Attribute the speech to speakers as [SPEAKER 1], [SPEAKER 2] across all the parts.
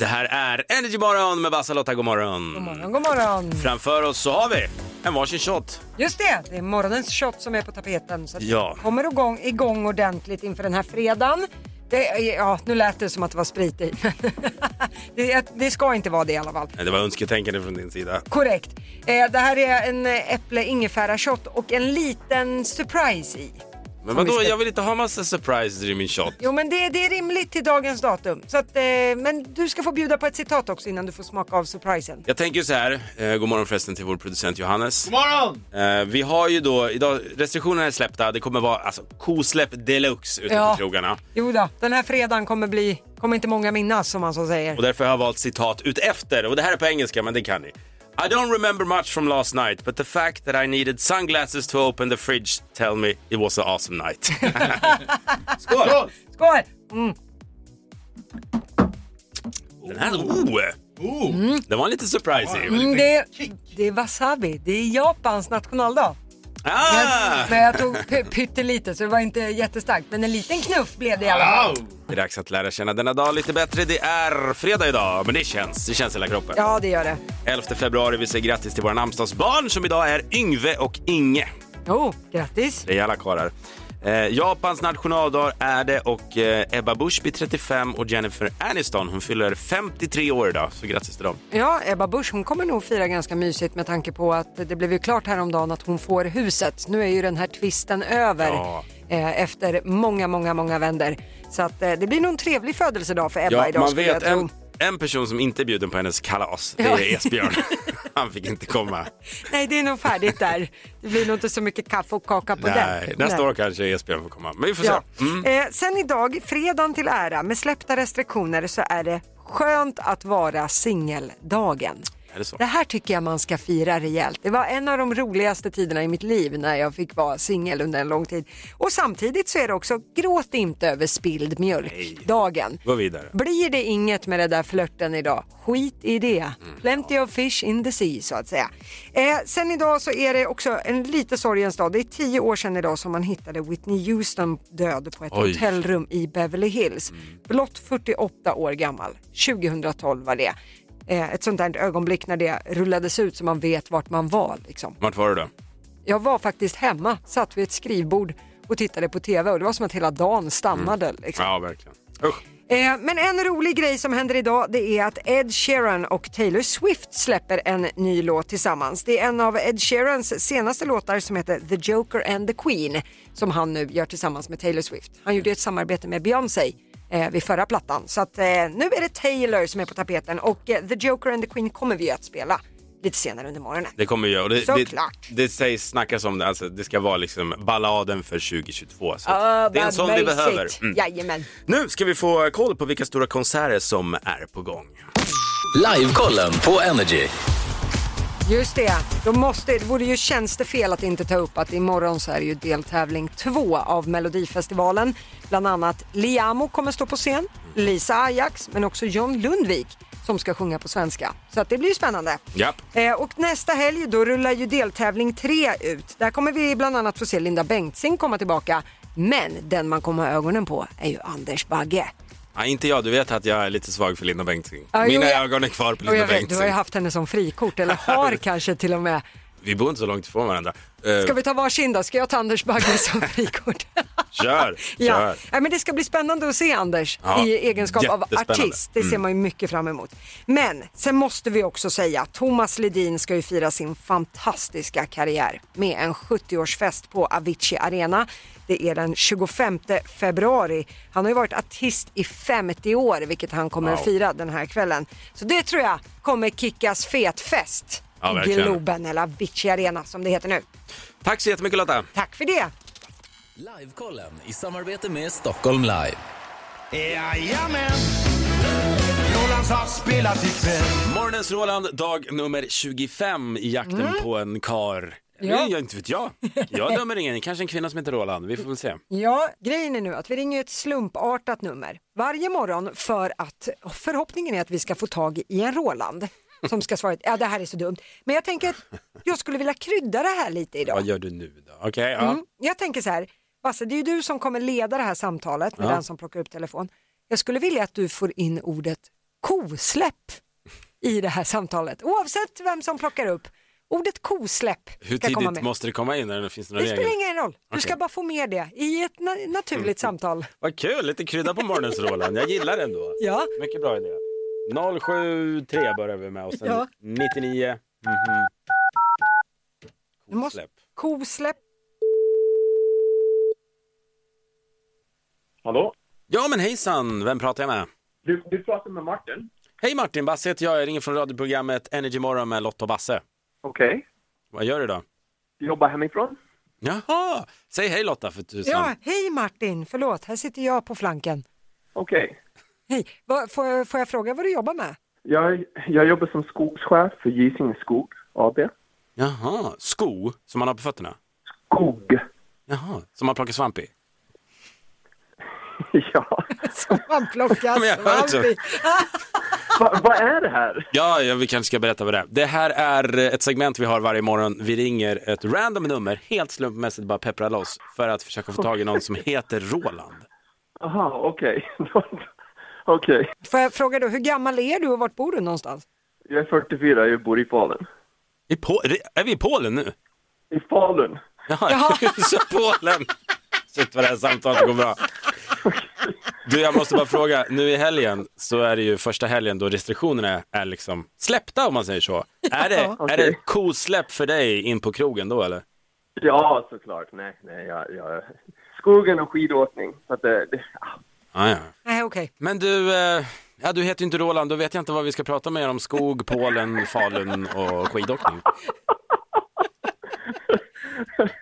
[SPEAKER 1] Det här är Energy Morgon med Bassa-Lotta. God morgon.
[SPEAKER 2] God morgon, god morgon.
[SPEAKER 1] Framför oss så har vi en varsin shot.
[SPEAKER 2] Just det, det är morgonens shot som är på tapeten. Så att
[SPEAKER 1] Ja.
[SPEAKER 2] vi kommer igång, igång ordentligt inför den här fredagen. Det, är- ja, nu lät det som att det var sprit i. det, det ska inte vara det i alla fall.
[SPEAKER 1] Nej, Det var önsketänkande från din sida.
[SPEAKER 2] Korrekt. Eh, det här är en eh, äpple-ingefära-shot och en liten surprise i.
[SPEAKER 1] Men
[SPEAKER 2] vi
[SPEAKER 1] vadå,
[SPEAKER 2] ska-
[SPEAKER 1] jag vill inte ha massa surprises i min shot.
[SPEAKER 2] Jo, men det, det är rimligt till dagens datum. Så att, eh, men du ska få bjuda på ett citat också innan du får smaka av surprisen.
[SPEAKER 1] Jag tänker så här, eh, god morgon förresten till vår producent Johannes. God morgon! Eh, vi har ju då, idag, restriktionerna är släppta, det kommer vara alltså, kosläpp deluxe ute
[SPEAKER 2] Ja.
[SPEAKER 1] på krogarna.
[SPEAKER 2] Jo då, den här fredagen kommer bli, kommer inte många minnas som man så säger.
[SPEAKER 1] Och därför har jag valt citat utefter, och det här är på engelska men det kan ni. I don't remember much from last night but the fact that I needed sunglasses to open the fridge tell me it was an awesome night. Skål!
[SPEAKER 2] Skål! Mm.
[SPEAKER 1] Den här, oh!
[SPEAKER 3] Mm.
[SPEAKER 1] Den var lite surprising.
[SPEAKER 2] Mm, det, är, det är wasabi, det är Japans nationaldag.
[SPEAKER 1] Ah!
[SPEAKER 2] Men jag tog py- pyttelite så det var inte jättestarkt. Men en liten knuff blev det i alla fall.
[SPEAKER 1] Det är dags att lära känna denna dag lite bättre. Det är fredag idag, men det känns. Det känns i hela kroppen.
[SPEAKER 2] Ja, det gör det.
[SPEAKER 1] 11 februari, vi säger grattis till våra namnsdagsbarn som idag är Yngve och Inge.
[SPEAKER 2] Jo, grattis.
[SPEAKER 1] Rejäla karlar. Eh, Japans nationaldag är det och eh, Ebba Busch blir 35 och Jennifer Aniston hon fyller 53 år idag. Så grattis till dem.
[SPEAKER 2] Ja, Ebba Busch hon kommer nog fira ganska mysigt med tanke på att det blev ju klart häromdagen att hon får huset. Nu är ju den här tvisten över
[SPEAKER 1] Ja.
[SPEAKER 2] eh, efter många, många, många vänder. Så att, eh, det blir nog en trevlig födelsedag för Ebba idag
[SPEAKER 1] man
[SPEAKER 2] skulle
[SPEAKER 1] vet
[SPEAKER 2] jag tro.
[SPEAKER 1] en, en person som inte är bjuden på hennes kalas, det
[SPEAKER 2] Ja.
[SPEAKER 1] är Esbjörn. Han fick inte komma.
[SPEAKER 2] Nej, det är nog färdigt där. Det blir nog inte så mycket kaffe och kaka på
[SPEAKER 1] Nej,
[SPEAKER 2] den.
[SPEAKER 1] nästa år kanske Esbjörn får komma. Men vi får
[SPEAKER 2] Ja.
[SPEAKER 1] se. Mm.
[SPEAKER 2] Eh, sen idag, fredagen till ära, med släppta restriktioner så är det skönt att vara singeldagen.
[SPEAKER 1] Är det så?
[SPEAKER 2] Det här tycker jag man ska fira rejält. Det var en av de roligaste tiderna i mitt liv när jag fick vara singel under en lång tid. Och samtidigt så är det också gråt inte över spilld mjölk-dagen.
[SPEAKER 1] Gå vidare.
[SPEAKER 2] Blir det inget med det där flörten idag, skit i det. Plenty of fish in the sea så att säga. Eh, sen idag så är det också en lite sorgens dag. Det är tio år sedan idag som man hittade Whitney Houston död på ett
[SPEAKER 1] Oj.
[SPEAKER 2] hotellrum i Beverly Hills. Blott 48 år gammal. 2012 var det. Eh, ett sånt där ögonblick när det rullades ut så man vet vart man var. Liksom.
[SPEAKER 1] Vart var du då?
[SPEAKER 2] Jag var faktiskt hemma, satt vid ett skrivbord och tittade på tv och det var som att hela dagen stannade. Liksom.
[SPEAKER 1] Ja, verkligen. Usch.
[SPEAKER 2] Eh, Men en rolig grej som händer idag det är att Ed Sheeran och Taylor Swift släpper en ny låt tillsammans. Det är en av Ed Sheerans senaste låtar som heter The Joker and the Queen som han nu gör tillsammans med Taylor Swift. Han gjorde ett samarbete med Beyoncé eh, vid förra plattan. Så att, eh, nu är det Taylor som är på tapeten och eh, The Joker and the Queen kommer vi att spela lite senare under morgonen.
[SPEAKER 1] Det kommer vi göra. Och Det, det,
[SPEAKER 2] Såklart.
[SPEAKER 1] det sägs, snackas om det, alltså, det ska vara liksom balladen för 2022. Så
[SPEAKER 2] Ah,
[SPEAKER 1] det är en
[SPEAKER 2] vad
[SPEAKER 1] sån vi
[SPEAKER 2] mysigt.
[SPEAKER 1] behöver. Mm.
[SPEAKER 2] Jajamän.
[SPEAKER 1] Nu ska vi få koll på vilka stora konserter som är på gång.
[SPEAKER 4] Livekollen på Energy.
[SPEAKER 2] Just det, då måste, det vore ju tjänstefel att inte ta upp att imorgon så är det ju deltävling två av Melodifestivalen. Bland annat Liamo kommer stå på scen, Lisa Ajax men också John Lundvik som ska sjunga på svenska. Så att det blir ju spännande.
[SPEAKER 1] Japp.
[SPEAKER 2] Eh, och nästa helg då rullar ju deltävling tre ut. Där kommer vi bland annat få se Linda Bengtzing komma tillbaka. Men den man kommer ha ögonen på är ju Anders Bagge.
[SPEAKER 1] Nej, inte jag. Du vet att jag är lite svag för Linda Bengtzing.
[SPEAKER 2] Ja, jo,
[SPEAKER 1] Mina
[SPEAKER 2] jag-
[SPEAKER 1] ögon är kvar på
[SPEAKER 2] Och
[SPEAKER 1] Linda
[SPEAKER 2] jag vet, du har
[SPEAKER 1] Bengtzing.
[SPEAKER 2] ju haft henne som frikort, eller har kanske till och med.
[SPEAKER 1] Vi bor inte så långt ifrån varandra. Eh,
[SPEAKER 2] Ska vi ta varsin då? Ska jag ta Anders Bagge som frikort?
[SPEAKER 1] Kör,
[SPEAKER 2] ja.
[SPEAKER 1] kör.
[SPEAKER 2] Nej, men det ska bli spännande att se Anders
[SPEAKER 1] Ja,
[SPEAKER 2] i egenskap av
[SPEAKER 1] jättespännande. Mm.
[SPEAKER 2] artist. Det ser man ju mycket fram emot. Men sen måste vi också säga att Thomas Ledin ska ju fira sin fantastiska karriär med en 70-årsfest på Avicii Arena. Det är den 25 februari. Han har ju varit artist i 50 år, vilket han kommer
[SPEAKER 1] Wow.
[SPEAKER 2] att fira den här kvällen. Så det tror jag kommer kickas fet fest
[SPEAKER 1] Ja,
[SPEAKER 2] i
[SPEAKER 1] verkligen.
[SPEAKER 2] Globen, eller Avicii Arena som det heter nu.
[SPEAKER 1] Tack så jättemycket Lotta.
[SPEAKER 2] Tack för det!
[SPEAKER 4] Livekollen i samarbete med Stockholm Live.
[SPEAKER 3] Jajamän! Rolands har spelat ikväll.
[SPEAKER 1] Morgonens Roland, dag nummer 25 i jakten på en kar.
[SPEAKER 2] Mm. Ja.
[SPEAKER 1] Ja. Jag, inte vet jag. Jag dömer ingen. Kanske en kvinna som heter Roland. Vi får väl se.
[SPEAKER 2] Ja, grejen är nu att vi ringer ett slumpartat nummer varje morgon för att förhoppningen är att vi ska få tag i en Roland som ska svara ja det här är så dumt. Men jag tänker att jag skulle vilja krydda det här lite idag.
[SPEAKER 1] Vad gör du nu då? Okej, ja.
[SPEAKER 2] Mm. Jag tänker så här, Basse det är ju du som kommer leda det här samtalet med den som plockar upp telefon. Jag skulle vilja att du får in ordet kosläpp i det här samtalet. Oavsett vem som plockar upp. Ordet kosläpp
[SPEAKER 1] Hur
[SPEAKER 2] ska komma
[SPEAKER 1] tidigt
[SPEAKER 2] med.
[SPEAKER 1] måste det komma in? Eller finns det några
[SPEAKER 2] Det spelar
[SPEAKER 1] regler?
[SPEAKER 2] ingen roll. Du ska
[SPEAKER 1] Okej. Mm.
[SPEAKER 2] bara få med det i ett na- naturligt samtal.
[SPEAKER 1] Vad kul, lite krydda på morgonen så, Roland. Jag gillar det ändå.
[SPEAKER 2] Ja.
[SPEAKER 1] Mycket bra idé. 073 börjar vi med och sen
[SPEAKER 2] Ja.
[SPEAKER 1] 99.
[SPEAKER 2] Du måste-
[SPEAKER 1] Släpp.
[SPEAKER 2] Kosläpp.
[SPEAKER 5] Hallå?
[SPEAKER 1] Ja men hejsan, vem pratar jag med?
[SPEAKER 5] Du, du pratar med Martin.
[SPEAKER 1] Hej Martin, Basse heter jag. Jag ringer från radioprogrammet Energy Morgon med Lotta och Basse.
[SPEAKER 5] Okej.
[SPEAKER 1] Vad gör du då?
[SPEAKER 5] Jobbar hemifrån?
[SPEAKER 1] Jaha, säg hej Lotta för tusan.
[SPEAKER 2] Ja, hej Martin, förlåt, här sitter jag på flanken.
[SPEAKER 5] Okej.
[SPEAKER 2] Hej, vad- får, jag- får jag fråga vad du jobbar med?
[SPEAKER 5] Jag, jag jobbar som skogschef för Gysinge Skog AB.
[SPEAKER 1] Jaha, sko som man har på fötterna?
[SPEAKER 5] Skog.
[SPEAKER 1] Jaha, som man plockar svamp i?
[SPEAKER 5] ja.
[SPEAKER 2] Som man plockar
[SPEAKER 1] men jag hör
[SPEAKER 2] svamp i.
[SPEAKER 5] Va, vad är det här?
[SPEAKER 1] Ja, ja, vi kanske ska berätta vad det är. Det här är eh, ett segment vi har varje morgon. Vi ringer ett random nummer, helt slumpmässigt bara pepprar loss för att försöka få tag i någon som heter Roland.
[SPEAKER 5] Aha, okej. okej.
[SPEAKER 2] Får jag fråga då, hur gammal är du och vart bor du någonstans?
[SPEAKER 5] Jag är 44, jag bor i Falun.
[SPEAKER 1] I Po- är vi i Polen nu?
[SPEAKER 5] I Falun?
[SPEAKER 1] Jaha, så Polen! Shit vad det här samtalet går bra. Du, jag måste bara fråga. Nu i helgen så är det ju första helgen då restriktionerna är liksom släppta om man säger så. Är det, är det
[SPEAKER 5] Okej.
[SPEAKER 1] kosläpp för dig in på krogen då eller?
[SPEAKER 5] Ja, såklart. Nej, nej, jag, jag... Skogen och skidåkning. Så att det, det... ah,
[SPEAKER 1] Ah, ja.
[SPEAKER 2] Nej, okej.
[SPEAKER 1] Men du, eh, ja, du heter ju inte Roland, då vet jag inte vad vi ska prata mer om. Skog, Polen, Falun och skidåkning.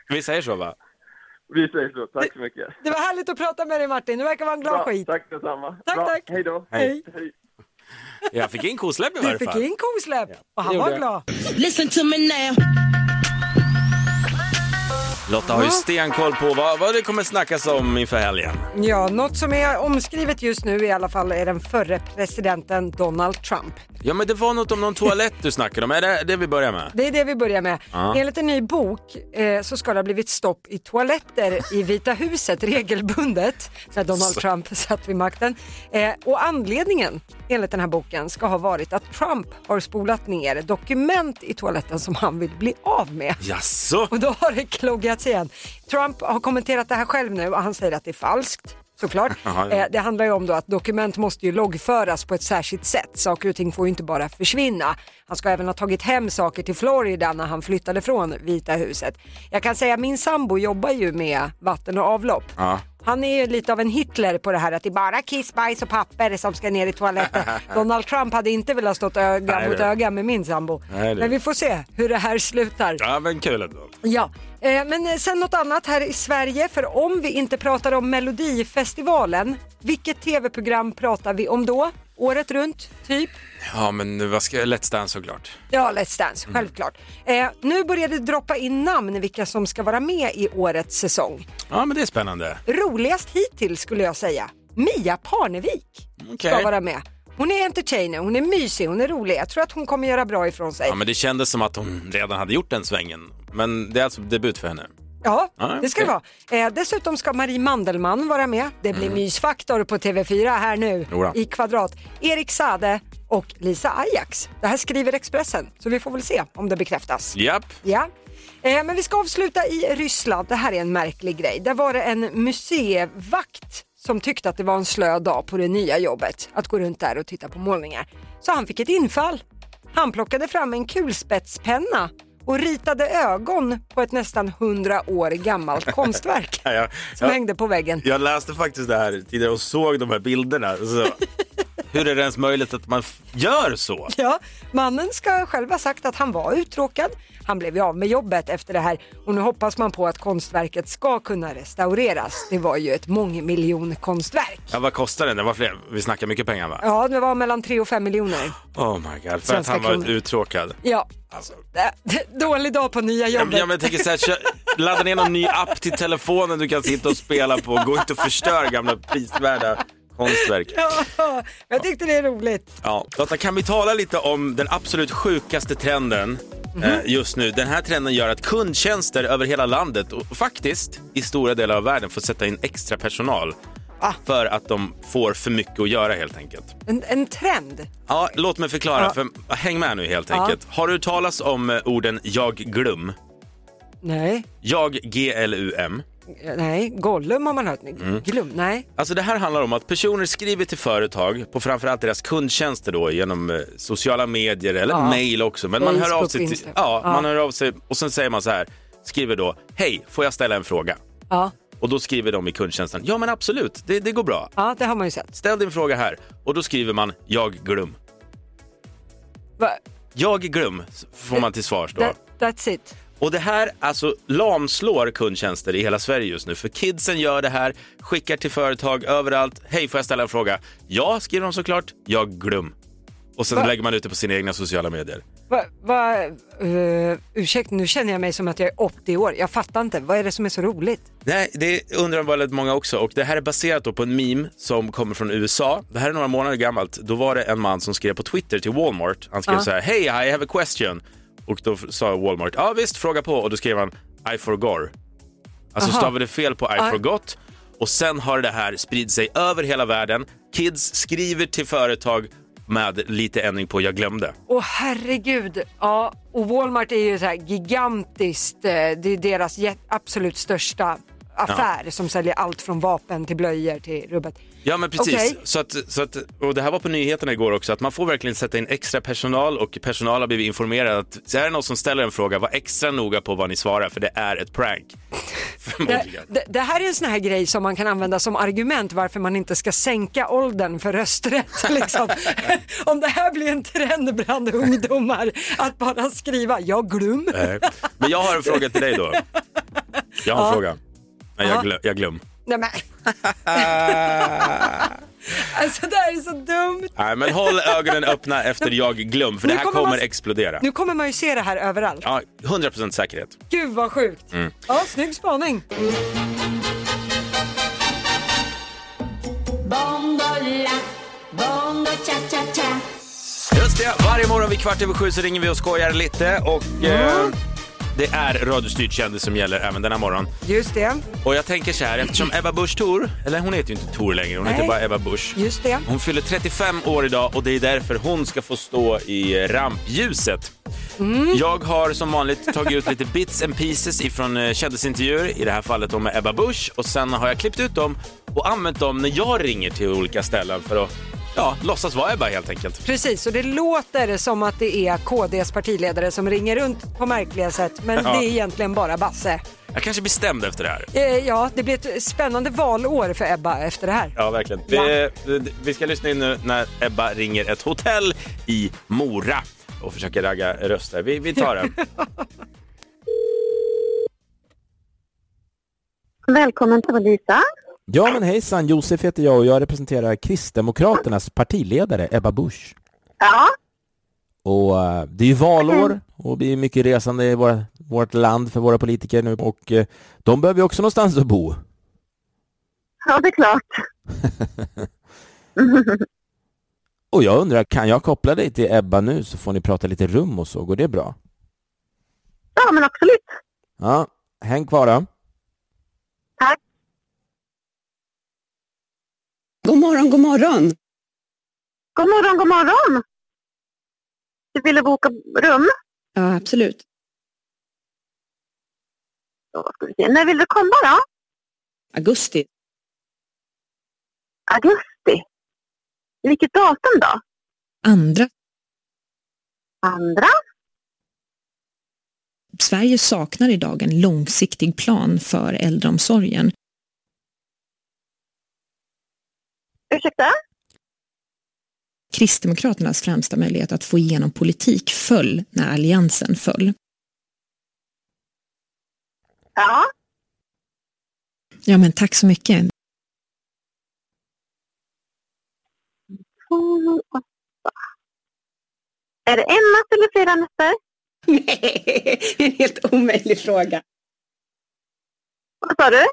[SPEAKER 1] Vi säger så va?
[SPEAKER 5] Vi säger så. Tack så mycket.
[SPEAKER 2] Det var härligt att prata med dig Martin, du verkar vara en glad skit.
[SPEAKER 5] tack detsamma.
[SPEAKER 2] Tack,
[SPEAKER 5] Bra,
[SPEAKER 2] tack.
[SPEAKER 5] Hej då.
[SPEAKER 2] Hej.
[SPEAKER 5] Hej.
[SPEAKER 1] Jag fick in kosläpp i
[SPEAKER 2] Du
[SPEAKER 1] varje
[SPEAKER 2] fick
[SPEAKER 1] fall.
[SPEAKER 2] in kosläpp och han var
[SPEAKER 1] gjorde jag.
[SPEAKER 2] glad.
[SPEAKER 6] Listen to me now.
[SPEAKER 1] Lotta har ju stenkoll på vad, vad det kommer snackas om inför helgen.
[SPEAKER 2] Ja, något som är omskrivet just nu i alla fall är den förre presidenten Donald Trump.
[SPEAKER 1] Ja men det var något om någon toalett du snackade om, är det det vi börjar med?
[SPEAKER 2] Det är det vi börjar med. Enligt en ny bok eh, så ska det ha blivit stopp i toaletter i Vita huset regelbundet när Donald Trump satt vid makten. Eh, och anledningen enligt den här boken ska ha varit att Trump har spolat ner dokument i toaletten som han vill bli av med.
[SPEAKER 1] Jaså?
[SPEAKER 2] Och då har det kloggats igen. Trump har kommenterat det här själv nu och han säger att det är falskt. Såklart.
[SPEAKER 1] Jaha, ja.
[SPEAKER 2] Eh, det handlar ju om då att dokument måste ju loggföras på ett särskilt sätt. Saker och ting får ju inte bara försvinna. Han ska även ha tagit hem saker till Florida när han flyttade från Vita huset. Jag kan säga min sambo jobbar ju med vatten och avlopp.
[SPEAKER 1] Ja.
[SPEAKER 2] Han är ju lite av en Hitler på det här att det är bara kiss, bajs och papper som ska ner i toaletten. Donald Trump hade inte velat stått öga
[SPEAKER 1] Nej,
[SPEAKER 2] mot
[SPEAKER 1] du.
[SPEAKER 2] öga med min sambo.
[SPEAKER 1] Nej, du.
[SPEAKER 2] Men vi får se hur det här slutar.
[SPEAKER 1] Ja men kul ändå.
[SPEAKER 2] Ja, eh, men eh, sen något annat här i Sverige, för om vi inte pratar om Melodifestivalen, vilket tv-program pratar vi om då? Året runt, typ?
[SPEAKER 1] Ja men vad ska jag, Let's Dance såklart.
[SPEAKER 2] Ja, Let's Dance, självklart. Eh, nu börjar det droppa in namn vilka som ska vara med i årets säsong.
[SPEAKER 1] Ja men det är spännande.
[SPEAKER 2] Roligast hittills skulle jag säga, Mia Parnevik ska
[SPEAKER 1] Okej.
[SPEAKER 2] vara med. Hon är entertainer, hon är mysig, hon är rolig. Jag tror att hon kommer göra bra ifrån sig.
[SPEAKER 1] Ja men det kändes som att hon redan hade gjort den svängen. Men det är alltså debut för henne.
[SPEAKER 2] Ja,
[SPEAKER 1] Ja,
[SPEAKER 2] det ska det
[SPEAKER 1] okej. Mm.
[SPEAKER 2] vara. Eh, dessutom ska Marie Mandelmann vara med. Det blir mysfaktor på TV4 här nu
[SPEAKER 1] Jodå.
[SPEAKER 2] i Kvadrat. Erik Sade och Lisa Ajax. Det här skriver Expressen, så vi får väl se om det bekräftas.
[SPEAKER 1] Japp.
[SPEAKER 2] Ja. Eh, men vi ska avsluta i Ryssland. Det här är en märklig grej. Där var det en museivakt som tyckte att det var en slö dag på det nya jobbet att gå runt där och titta på målningar. Så han fick ett infall. Han plockade fram en kulspetspenna och ritade ögon på ett nästan 100 år gammalt konstverk
[SPEAKER 1] Ja, ja.
[SPEAKER 2] som
[SPEAKER 1] Ja.
[SPEAKER 2] hängde på väggen.
[SPEAKER 1] Jag läste faktiskt det här tidigare och såg de här bilderna. Så. Hur är det ens möjligt att man f- gör så?
[SPEAKER 2] Ja, mannen ska själv ha sagt att han var uttråkad. Han blev ju av med jobbet efter det här och nu hoppas man på att konstverket ska kunna restaureras. Det var ju ett mångmiljonkonstverk.
[SPEAKER 1] Ja, vad kostar den? Det var fler. Vi snackar mycket pengar va?
[SPEAKER 2] Ja, det var mellan 3 och 5 miljoner.
[SPEAKER 1] Oh my god, för att
[SPEAKER 2] Svenska
[SPEAKER 1] han var
[SPEAKER 2] kronor.
[SPEAKER 1] uttråkad.
[SPEAKER 2] Ja,
[SPEAKER 1] Alltså.
[SPEAKER 2] Äh, dålig dag på nya
[SPEAKER 1] Ja, men
[SPEAKER 2] jobbet.
[SPEAKER 1] jag men tänker så här, kö- ladda ner någon ny app till telefonen du kan sitta och spela på. Gå inte och förstör gamla prisvärda konstverk.
[SPEAKER 2] Ja, jag tyckte det är roligt.
[SPEAKER 1] Ja. Lotta, kan vi tala lite om den absolut sjukaste trenden eh, just nu? Den här trenden gör att kundtjänster över hela landet och faktiskt i stora delar av världen får sätta in extra personal
[SPEAKER 2] Ah.
[SPEAKER 1] För att de får för mycket att göra helt enkelt.
[SPEAKER 2] En, en trend.
[SPEAKER 1] Ja, låt mig förklara.
[SPEAKER 2] Ja.
[SPEAKER 1] För, häng med nu helt enkelt. Har du talas om eh, orden jag glum?
[SPEAKER 2] Nej,
[SPEAKER 1] Jag G-L-U-M.
[SPEAKER 2] nej. Gollum har man hört. Glum, nej.
[SPEAKER 1] Alltså det här handlar om att personer skriver till företag på framförallt deras kundtjänster då genom eh, sociala medier eller
[SPEAKER 2] Ja.
[SPEAKER 1] mail också. Men man hör, av
[SPEAKER 2] Facebook,
[SPEAKER 1] sig till,
[SPEAKER 2] Instagram.
[SPEAKER 1] ja,
[SPEAKER 2] Ja.
[SPEAKER 1] man hör av sig och sen säger man så här, skriver då, hej, får jag ställa en fråga?
[SPEAKER 2] Ja.
[SPEAKER 1] Och då skriver de i kundtjänsten, ja men absolut, det, det går bra.
[SPEAKER 2] ja, det har man ju sett.
[SPEAKER 1] Ställ din fråga här. Och då skriver man, jag glum.
[SPEAKER 2] Va?
[SPEAKER 1] Jag glum, får man till svars då.
[SPEAKER 2] That, that's it.
[SPEAKER 1] Och det här alltså lamslår kundtjänster i hela Sverige just nu. För kidsen gör det här, skickar till företag överallt. Hej, får jag ställa en fråga? Ja, skriver de såklart. Jag glöm. Och sen
[SPEAKER 2] Va?
[SPEAKER 1] lägger man ut det på sina egna sociala medier.
[SPEAKER 2] Va, va, eh, ursäkta, nu känner jag mig som att jag är 80 år. Jag fattar inte. Vad är det som är så roligt?
[SPEAKER 1] Nej, det undrar väldigt många också. Och det här är baserat då på en meme som kommer från USA. Det här är några månader gammalt. Då var det en man som skrev på Twitter till Walmart. Han skrev så här, Hej, I have a question. Och då sa Walmart, ja visst, fråga på. Och då skrev han, I forgot. Alltså
[SPEAKER 2] Aha.
[SPEAKER 1] stavade fel på I
[SPEAKER 2] Ah.
[SPEAKER 1] forgot. Och sen har det här spridit sig över hela världen. Kids skriver till företag med lite ändring på jag glömde.
[SPEAKER 2] Åh herregud. Ja, och Walmart är ju så här gigantiskt. eh, Det är deras jä- absolut största affär som säljer allt från vapen till blöjor till rubbet.
[SPEAKER 1] Ja men precis,
[SPEAKER 2] Okej.
[SPEAKER 1] så att, så att, och det här var på nyheterna igår också, att man får verkligen sätta in extra personal och personal har blivit informerad att så här är det någon som ställer en fråga, var extra noga på vad ni svarar för det är ett prank.
[SPEAKER 2] Det,
[SPEAKER 1] Förmodligen.
[SPEAKER 2] det, det här är en sån här grej som man kan använda som argument varför man inte ska sänka åldern för rösträtt. Liksom. Om det här blir en trend bland ungdomar att bara skriva jag glöm.
[SPEAKER 1] Nej. Men jag har en fråga till dig då. Jag har en fråga. Nej, jag,
[SPEAKER 2] Ja.
[SPEAKER 1] glöm, jag glöm.
[SPEAKER 2] Nej men. alltså det här är så dumt.
[SPEAKER 1] Nej men håll ögonen öppna efter jag glöm för det
[SPEAKER 2] Nu
[SPEAKER 1] här
[SPEAKER 2] kommer
[SPEAKER 1] kommer,
[SPEAKER 2] man-
[SPEAKER 1] explodera.
[SPEAKER 2] Nu kommer man ju se det här överallt.
[SPEAKER 1] Ja, Mm. 100% säkerhet.
[SPEAKER 2] Gud vad sjukt. Ja, snygg spaning.
[SPEAKER 6] Bondola, bondo cha cha cha.
[SPEAKER 1] Just det, varje morgon vid kvart över sju så ringer vi och skojar lite och eh, det är radiostyrd kändis som gäller även denna morgon.
[SPEAKER 2] Just det,
[SPEAKER 1] Och jag tänker så här, eftersom Ebba Busch Thor, eller hon heter ju inte Thor längre, hon heter
[SPEAKER 2] Nej.
[SPEAKER 1] bara Ebba Busch.
[SPEAKER 2] just det.
[SPEAKER 1] Hon fyller 35 år idag och det är därför hon ska få stå i rampljuset. Jag har som vanligt tagit ut lite bits and pieces ifrån eh, kändisintervjuer, i det här fallet då med Ebba Busch och sen har jag klippt ut dem och använt dem när jag ringer till olika ställen för att ja, låtsas vara Ebba helt enkelt.
[SPEAKER 2] Precis, och det låter som att det är KDs partiledare som ringer runt på märkliga sätt, men
[SPEAKER 1] Ja.
[SPEAKER 2] det är egentligen bara Basse.
[SPEAKER 1] Jag kanske blir stämd efter det här.
[SPEAKER 2] Eh, ja, det blir ett spännande valår för Ebba efter det här.
[SPEAKER 1] Ja, verkligen.
[SPEAKER 2] Ja.
[SPEAKER 1] Vi, vi ska lyssna in nu när Ebba ringer ett hotell i Mora och försöker ragga röster. Vi, vi tar den.
[SPEAKER 7] Välkommen till Lisa.
[SPEAKER 8] Ja men hejsan, Josef heter jag och jag representerar Kristdemokraternas partiledare Ebba Busch.
[SPEAKER 7] Ja,
[SPEAKER 8] Och eh, det är ju valår och det är mycket resande i våra, vårt land för våra politiker nu och eh, de behöver ju också någonstans att bo.
[SPEAKER 7] ja det är klart.
[SPEAKER 8] Och jag undrar, kan jag koppla dig till Ebba nu så får ni prata lite rum och så, går det bra?
[SPEAKER 7] Ja, men absolut.
[SPEAKER 8] Ja, häng kvar då.
[SPEAKER 7] Tack.
[SPEAKER 9] God morgon, god morgon.
[SPEAKER 7] God morgon, god morgon. Du ville boka rum.
[SPEAKER 9] Ja, absolut.
[SPEAKER 7] Då ska vi se. När vill du komma då?
[SPEAKER 9] Augusti.
[SPEAKER 7] Augusti. Vilket datum då?
[SPEAKER 9] Andra.
[SPEAKER 7] Andra.
[SPEAKER 9] Sverige saknar idag en långsiktig plan för äldreomsorgen.
[SPEAKER 7] Ursäkta?
[SPEAKER 9] Kristdemokraternas främsta möjlighet att få igenom politik föll när alliansen föll.
[SPEAKER 7] Ja.
[SPEAKER 9] Ja, men tack så mycket.
[SPEAKER 7] två, åtta. Är det en natt eller flera nätter?
[SPEAKER 9] Nej, en helt omöjlig fråga.
[SPEAKER 7] Vad sa du?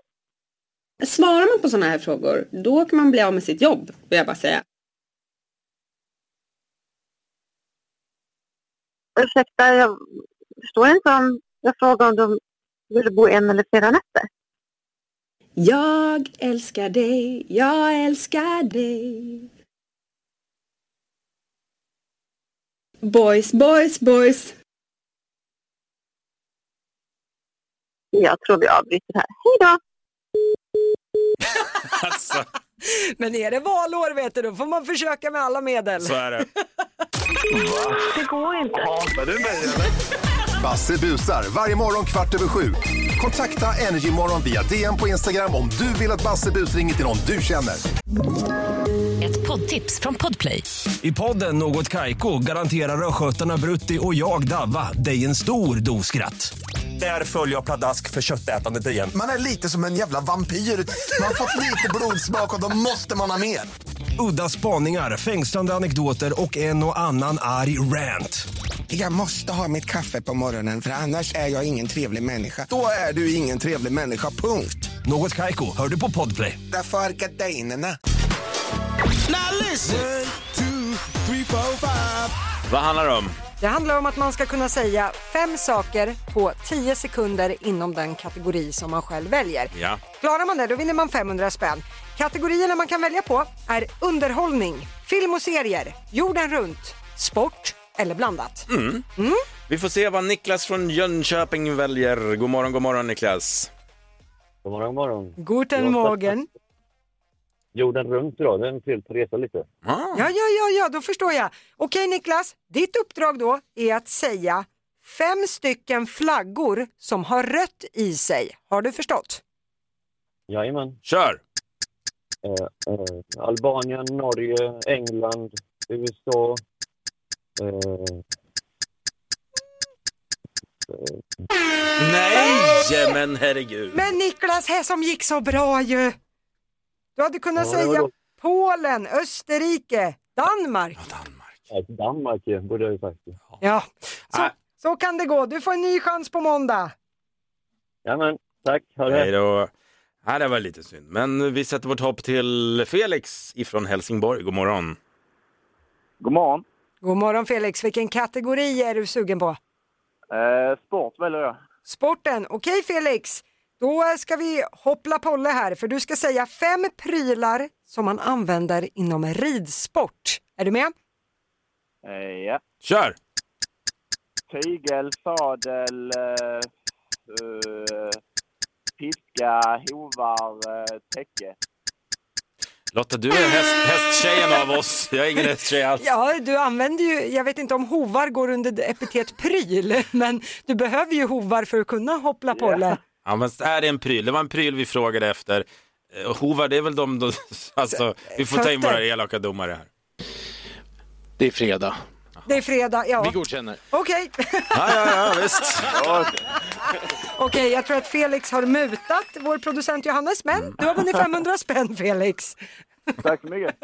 [SPEAKER 9] Svarar man på sådana här frågor, då kan man bli av med sitt jobb, vill jag bara säga.
[SPEAKER 7] Ursäkta, jag förstår inte om jag frågade om du ville bo en eller flera nätter.
[SPEAKER 9] Jag älskar dig, jag älskar dig. Boys, boys, boys.
[SPEAKER 7] Jag tror vi avbryter här. Hej då!
[SPEAKER 1] Alltså,
[SPEAKER 2] Men är det valår vet du, då får man försöka med alla medel.
[SPEAKER 1] så är det.
[SPEAKER 7] Det går inte.
[SPEAKER 10] Basse busar varje morgon kvart över sju. Kontakta Energymorgon via DM på Instagram om du vill att Basse bus ringer till någon du känner.
[SPEAKER 11] Ett poddtips från Podplay.
[SPEAKER 3] I podden Något Kaiko garanterar östgötarna Brutti och jag, Davva, dig en stor dos skratt. Där följer jag pladask för köttätandet igen.
[SPEAKER 10] Man är lite som en jävla vampyr. Man har fått lite blodsmak och då måste man ha mer.
[SPEAKER 3] Udda spaningar, fängslande anekdoter och en och annan arg rant.
[SPEAKER 5] Jag måste ha mitt kaffe på morgonen för annars är jag ingen trevlig människa.
[SPEAKER 10] Då är du ingen trevlig människa, punkt.
[SPEAKER 3] Något Kaiko, hör du på Podplay.
[SPEAKER 5] Därför är gardinerna.
[SPEAKER 1] Vad handlar det om?
[SPEAKER 2] Det handlar om att man ska kunna säga fem saker på 10 sekunder inom den kategori som man själv väljer.
[SPEAKER 1] Ja.
[SPEAKER 2] Klarar man det, då vinner man 500 spänn. Kategorierna man kan välja på är underhållning, film och serier, jorden runt, sport eller blandat.
[SPEAKER 5] Mm.
[SPEAKER 1] Vi får se vad Niklas från Jönköping väljer. God morgon, god morgon Niklas.
[SPEAKER 5] God morgon, morgon.
[SPEAKER 2] Guten Morgen.
[SPEAKER 5] Jorden runt idag, det är en fel på resa lite.
[SPEAKER 1] Ah.
[SPEAKER 2] Ja, ja, ja, ja, då förstår jag. Okej Niklas, ditt uppdrag då är att säga fem stycken flaggor som har rött i sig. Har du förstått?
[SPEAKER 5] Jajamän.
[SPEAKER 1] Kör!
[SPEAKER 5] Eh, eh, Albanien, Norge, England, USA. Eh, eh.
[SPEAKER 1] Nej, men herregud.
[SPEAKER 2] Men Niklas, här som gick så bra ju. Du hade kunnat
[SPEAKER 5] Ja, det var
[SPEAKER 2] säga
[SPEAKER 5] då.
[SPEAKER 2] Polen, Österrike, Danmark.
[SPEAKER 1] Danmark.
[SPEAKER 5] eh, Danmark eh, borde jag ju sagt.
[SPEAKER 2] Ja, så,
[SPEAKER 1] Nej.
[SPEAKER 2] så kan det gå. Du får en ny chans på måndag.
[SPEAKER 5] Jajamän, tack. Ha det.
[SPEAKER 1] Hej då. Ja, det var lite synd. Men vi sätter vårt hopp till Felix ifrån Helsingborg. God morgon.
[SPEAKER 5] God morgon.
[SPEAKER 2] God morgon Felix, vilken kategori är du sugen på?
[SPEAKER 5] Eh, sport väljer jag.
[SPEAKER 2] Sporten. Okej Felix, då ska vi hoppla polle här för du ska säga fem prylar som man använder inom ridsport. Är du med?
[SPEAKER 5] ja.
[SPEAKER 1] Kör!
[SPEAKER 5] Tygel, sadel, eh, eh, piska, hovar, eh, täcke.
[SPEAKER 1] Lotta, du är häst, hästtjejen av oss. Jag är ingen hästtjej alls.
[SPEAKER 2] Ja, du använder ju, jag vet inte om hovar går under epitet pryl, men du behöver ju hovar för att kunna hoppla polle.
[SPEAKER 1] Ja, men är det en pryl? Det var en pryl vi frågade efter. Eh, och Hovar, det är väl de... de alltså, vi får ta in
[SPEAKER 2] Fötter.
[SPEAKER 1] våra elaka domare här.
[SPEAKER 3] Det är fredag.
[SPEAKER 2] Det är fredag, ja.
[SPEAKER 3] godkänner.
[SPEAKER 2] Okej,
[SPEAKER 1] Ja, ja, ja, visst.
[SPEAKER 2] Okej, jag tror att Felix har mutat vår producent Johannes, men du har vunnit 500 spänn Felix.
[SPEAKER 5] Tack så mycket.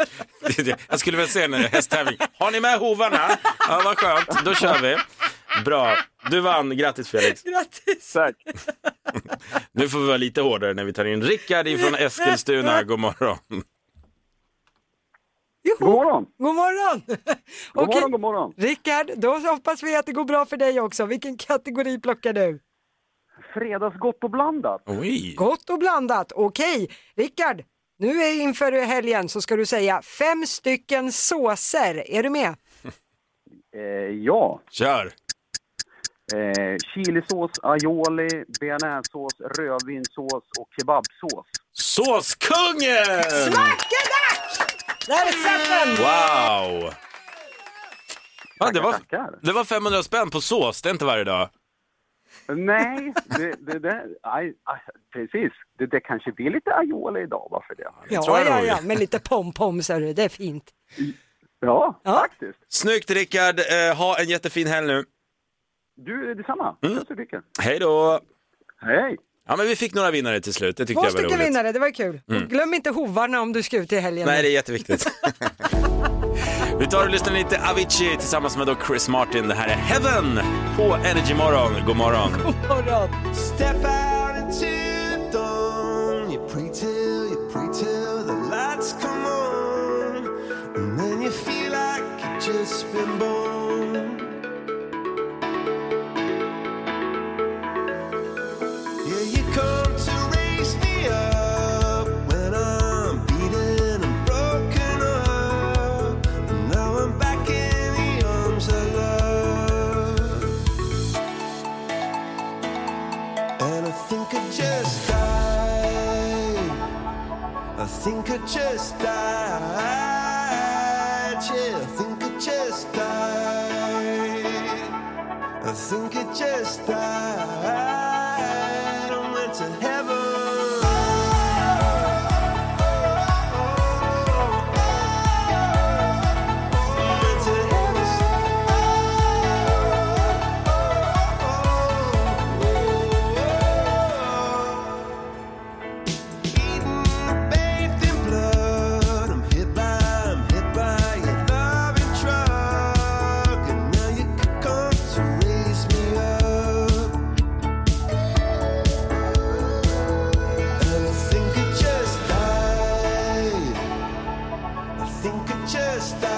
[SPEAKER 1] Det- det- Jag skulle vilja se en eh, hästtävling. Har ni med hovarna? Ja, vad skönt. Då kör vi. Bra. Du vann. Grattis, Felix.
[SPEAKER 2] Grattis!
[SPEAKER 5] Tack.
[SPEAKER 1] Nu får vi vara lite hårdare när vi tar in Rickard ifrån Eskilstuna. God morgon.
[SPEAKER 5] God morgon.
[SPEAKER 2] God morgon!
[SPEAKER 5] God
[SPEAKER 2] Okej,
[SPEAKER 5] morgon, god morgon.
[SPEAKER 2] Rickard, då hoppas vi att det går bra för dig också. Vilken kategori plockar du?
[SPEAKER 5] Fredagsgott och blandat.
[SPEAKER 1] Oj.
[SPEAKER 2] Gott och blandat. Okej, Rickard, nu är inför helgen så ska du säga fem stycken såser. Är du med?
[SPEAKER 5] ja.
[SPEAKER 1] Kör.
[SPEAKER 5] Eh, chilisås, aioli, bearnaisesås, rödvinssås och kebabsås.
[SPEAKER 1] Såskungen!
[SPEAKER 2] Där satt den!
[SPEAKER 1] Wow! Ja, det, var,
[SPEAKER 5] Tackar.
[SPEAKER 1] det var 500 spänn på sås. Det är inte varje dag.
[SPEAKER 5] Nej, det, det, det, aj, aj, precis. Det, det kanske blir lite aioli idag, varför det?
[SPEAKER 1] tror
[SPEAKER 2] Ja,
[SPEAKER 1] jag
[SPEAKER 2] ja,
[SPEAKER 1] nog.
[SPEAKER 2] ja, med lite pompoms, hörru. det är fint.
[SPEAKER 5] Ja,
[SPEAKER 2] Ja.
[SPEAKER 5] faktiskt.
[SPEAKER 1] Snyggt, Rickard. Eh, ha en jättefin helg nu.
[SPEAKER 5] Du, detsamma. Tack så mycket.
[SPEAKER 1] Hej då!
[SPEAKER 5] Hej.
[SPEAKER 1] Ja, men vi fick några vinnare till slut. Det tyckte
[SPEAKER 2] Två
[SPEAKER 1] jag var roligt. Mm.
[SPEAKER 2] stycken vinnare, det var ju kul. Och glöm inte hovarna om du ska ut i helgen.
[SPEAKER 1] Nej, det är jätteviktigt. Vi tar och lyssnar lite Avicii tillsammans med då Chris Martin. Det här är Heaven på Energy Morgon. God morgon.
[SPEAKER 2] morgon.
[SPEAKER 3] Step out into the dawn You pray till, you pray till the lights come on And then you feel like you've just been born Yeah, you come to raise me up just died. Yeah, I think I just died. I think I just died. I went to heaven. Just died,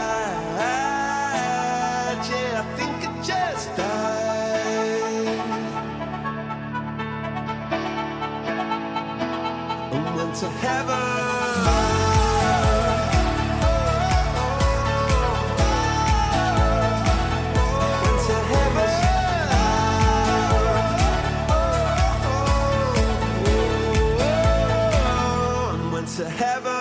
[SPEAKER 3] yeah. I think I just died. I went to heaven. Went to heaven.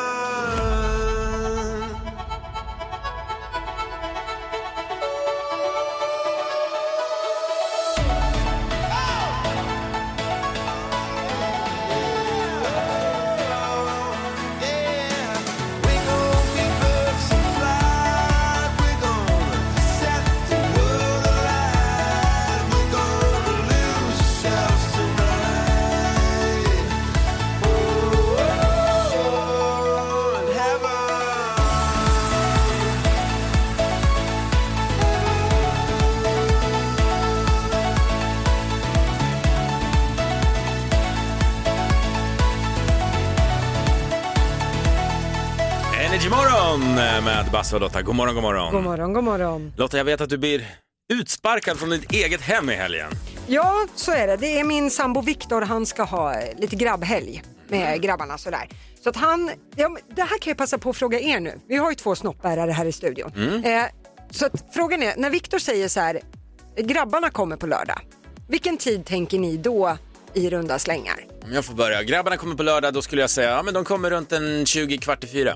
[SPEAKER 1] Energymorgon eh, med Basse och Lotta. God morgon, god morgon.
[SPEAKER 2] God morgon, god morgon.
[SPEAKER 1] Lotta, jag vet att du blir utsparkad från ditt eget hem i helgen.
[SPEAKER 2] Ja, så är det. Det är min sambo Viktor, han ska ha eh, lite grabbhelg med grabbarna sådär. Så att han, ja, men det här kan jag passa på att fråga er nu. Vi har ju två snoppbärare här i studion.
[SPEAKER 12] Mm.
[SPEAKER 2] Eh, så att frågan är, när Viktor säger så här, grabbarna kommer på lördag. Vilken tid tänker ni då i runda slängar?
[SPEAKER 1] Om jag får börja. Grabbarna kommer på lördag, då skulle jag säga ja, men de kommer runt en 20 kvart i fyra.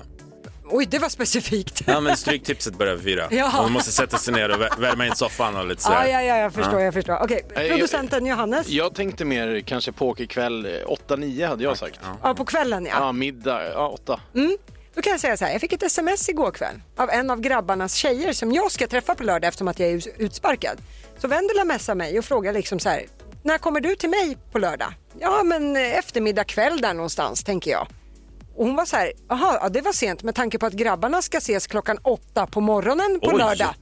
[SPEAKER 2] Oj, det var specifikt.
[SPEAKER 1] Ja, men stryktipset börjar vid fyra.
[SPEAKER 2] Ja.
[SPEAKER 1] Man måste sätta sig ner och vä- värma in soffan och lite sådär.
[SPEAKER 2] Ja, ja, ja, jag förstår, jag förstår. Okej,
[SPEAKER 13] Nej, jag-
[SPEAKER 2] producenten Johannes.
[SPEAKER 13] Jag tänkte mer kanske pokerkväll eh, 8-9 hade jag sagt.
[SPEAKER 2] Ja, på kvällen ja.
[SPEAKER 13] Ja, middag, ja 8.
[SPEAKER 2] Mm. Då kan jag säga så här, jag fick ett sms igår kväll av en av grabbarnas tjejer som jag ska träffa på lördag eftersom att jag är utsparkad. Så Vendela messar mig och frågar liksom så här, när kommer du till mig på lördag? Ja men eh, eftermiddag kväll där någonstans tänker jag. Och hon var så här, jaha ja, det var sent med tanke på att grabbarna ska ses klockan åtta på morgonen på
[SPEAKER 12] Oj.
[SPEAKER 2] lördag.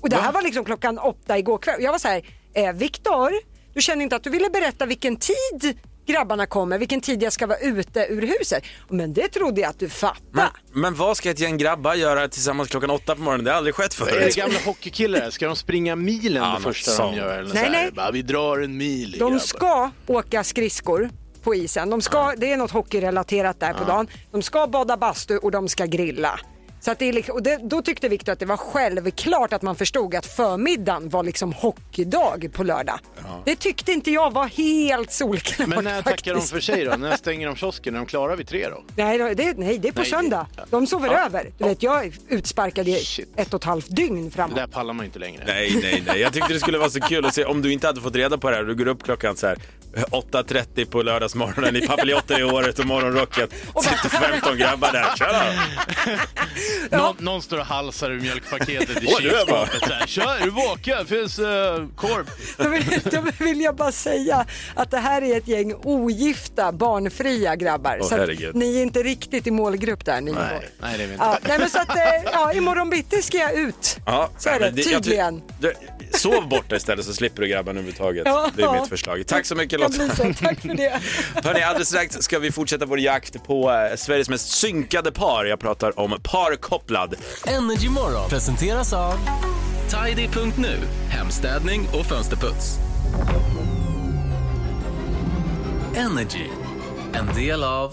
[SPEAKER 2] Och det här var liksom klockan åtta igår kväll. Jag var så här, eh, Viktor, du känner inte att du ville berätta vilken tid grabbarna kommer, vilken tid jag ska vara ute ur huset. Men det trodde jag att du fattade.
[SPEAKER 1] Men, men vad ska ett gäng grabbar göra tillsammans klockan åtta på morgonen? Det har aldrig skett förut.
[SPEAKER 13] Är det gamla hockeykillar? Ska de springa milen det första
[SPEAKER 1] sånt.
[SPEAKER 13] de gör? Eller
[SPEAKER 2] Nej,
[SPEAKER 13] så här,
[SPEAKER 2] nej.
[SPEAKER 13] Bara, vi drar en mil grabbar."
[SPEAKER 2] De ska åka skridskor på isen. De ska, Det är något hockeyrelaterat där på
[SPEAKER 13] Ja.
[SPEAKER 2] dagen. De ska bada bastu och de ska grilla. Så att det är liksom, och det, då tyckte Viktor att det var självklart att man förstod att förmiddagen var liksom hockeydag på lördag. Det tyckte inte jag var helt solklart
[SPEAKER 13] Men när tackar de
[SPEAKER 2] faktiskt.
[SPEAKER 13] för sig då? När stänger de kiosken? Är de klara vid tre då?
[SPEAKER 2] Nej, då- det, nej, det är på
[SPEAKER 13] Nej, det-
[SPEAKER 2] söndag. De sover
[SPEAKER 13] Ja.
[SPEAKER 2] över. Du vet, jag är utsparkad i ett och ett halvt dygn
[SPEAKER 13] Det
[SPEAKER 2] framåt.
[SPEAKER 13] där pallar man inte längre.
[SPEAKER 1] Nej, nej, nej. Jag tyckte det skulle vara så kul att se om du inte hade fått reda på det här. Du går upp klockan så här eh, 8.30 på lördagsmorgonen i papiljotter i året och morgonrocken. Sitter 15 grabbar där. Tjena!
[SPEAKER 13] Någon, någon står och halsar ur mjölkpaketet i
[SPEAKER 1] Åh, du är bara-
[SPEAKER 13] kylskåpet. så här, Kör, är du vaken? Finns uh, korv?
[SPEAKER 2] Då vill, då vill jag bara säga att det här är ett gäng ogifta, barnfria grabbar.
[SPEAKER 13] Åh,
[SPEAKER 2] så att
[SPEAKER 13] herregud.
[SPEAKER 2] ni är inte riktigt i målgrupp där. Ni
[SPEAKER 13] Nej, nej, det är vi inte.
[SPEAKER 2] Ja, nej men så att, eh, ja, imorgon bitti ska jag ut.
[SPEAKER 1] Ja,
[SPEAKER 2] Så är det,
[SPEAKER 1] men jag ty-
[SPEAKER 2] tydligen.
[SPEAKER 1] Du, sov borta istället så slipper du grabbarna överhuvudtaget.
[SPEAKER 2] Ja.
[SPEAKER 1] Det är mitt förslag. Tack så mycket
[SPEAKER 2] Kan
[SPEAKER 1] Lotta.
[SPEAKER 2] bli så. Tack för det.
[SPEAKER 1] Hörni, alldeles strax ska vi fortsätta vår jakt på eh, Sveriges mest synkade par. Jag pratar om parkopplad.
[SPEAKER 4] Energy Morgon presenteras av Tidy.nu, hemstädning och fönsterputs. Energy, en del av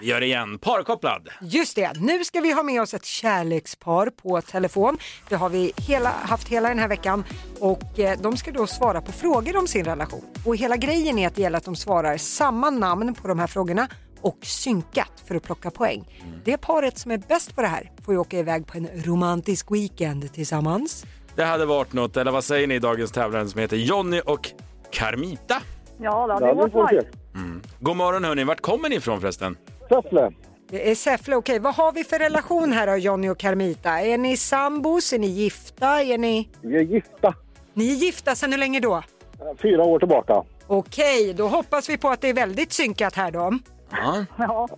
[SPEAKER 1] Vi gör det igen. Parkopplad.
[SPEAKER 2] Just det, nu ska vi ha med oss ett kärlekspar på telefon. Det har vi hela, haft hela den här veckan och eh, de ska då svara på frågor om sin relation. Och hela grejen är att det gäller att de svarar samma namn på de här frågorna och synkat för att plocka poäng. Det paret som är bäst på det här får ju åka iväg på en romantisk weekend tillsammans.
[SPEAKER 1] Det hade varit något, eller vad säger ni dagens tävlande som heter Jonny och Carmita?
[SPEAKER 7] Ja, då,
[SPEAKER 1] Ja,
[SPEAKER 7] det
[SPEAKER 1] det får
[SPEAKER 7] var
[SPEAKER 1] vi
[SPEAKER 7] nice.
[SPEAKER 1] God morgon hörni, vart kommer ni ifrån förresten?
[SPEAKER 12] Säffle.
[SPEAKER 2] Det är Säffle, okej. Vad har vi för relation här då, Jonny och Carmita? Är ni sambos? Är ni gifta? Är ni...
[SPEAKER 12] Vi är gifta.
[SPEAKER 2] Ni är gifta sedan hur länge då?
[SPEAKER 12] Fyra år tillbaka.
[SPEAKER 2] Okej, då hoppas vi på att det är väldigt synkat här då.
[SPEAKER 1] Ja.
[SPEAKER 2] Ja.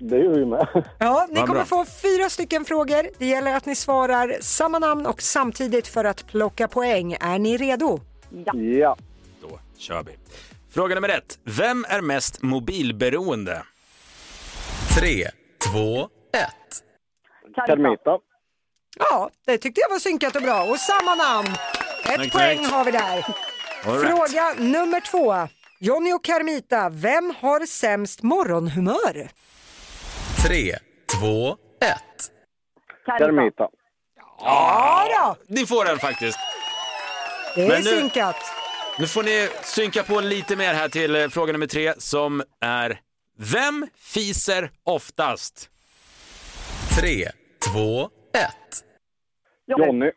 [SPEAKER 12] Det gör vi med.
[SPEAKER 2] Ja, ni
[SPEAKER 12] Vad
[SPEAKER 2] kommer
[SPEAKER 12] bra.
[SPEAKER 2] få fyra stycken frågor. Det gäller att ni svarar samma namn och samtidigt för att plocka poäng. Är ni redo? Ja.
[SPEAKER 12] Ja.
[SPEAKER 1] Då kör vi. Fråga nummer ett. Vem är mest mobilberoende? 3, 2, 1.
[SPEAKER 12] Carmita.
[SPEAKER 2] Ja, det tyckte jag var synkat och bra. Och samma namn. Ett
[SPEAKER 12] Snyggt,
[SPEAKER 2] poäng
[SPEAKER 12] snyggt.
[SPEAKER 2] har vi där.
[SPEAKER 12] All right.
[SPEAKER 2] Fråga nummer två. Jonny och Carmita, vem har sämst morgonhumör?
[SPEAKER 4] 3, 2, 1.
[SPEAKER 12] Carmita.
[SPEAKER 1] Ja, ni får den faktiskt.
[SPEAKER 2] Det är
[SPEAKER 1] Men nu-
[SPEAKER 2] synkat.
[SPEAKER 1] Nu får ni synka på lite mer här till eh, fråga nummer tre som är Vem fiser oftast?
[SPEAKER 4] 3, 2, 1.
[SPEAKER 12] Jonny.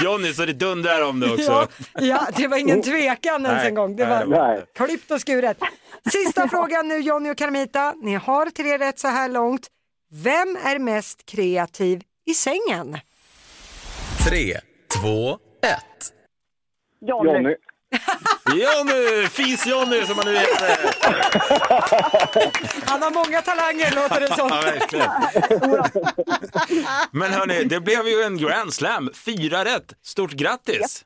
[SPEAKER 1] Johnny, så det dundrar om det också.
[SPEAKER 2] Ja, ja, det var
[SPEAKER 12] Oh.
[SPEAKER 2] ingen tvekan ens
[SPEAKER 1] Nej,
[SPEAKER 2] en gång. Det
[SPEAKER 1] nej,
[SPEAKER 2] var
[SPEAKER 1] det var inte.
[SPEAKER 2] klippt och skuret. Sista frågan nu Jonny och Carmita. Ni har tre rätt så här långt. Vem är mest kreativ i sängen?
[SPEAKER 4] 3, 2, 1.
[SPEAKER 12] Jonny.
[SPEAKER 1] Jonny! Fis-Jonny som han nu heter.
[SPEAKER 2] Han har många talanger låter det som.
[SPEAKER 1] Ja, verkligen. Men hörni, det blev ju en grand slam. Fyra rätt. Stort grattis!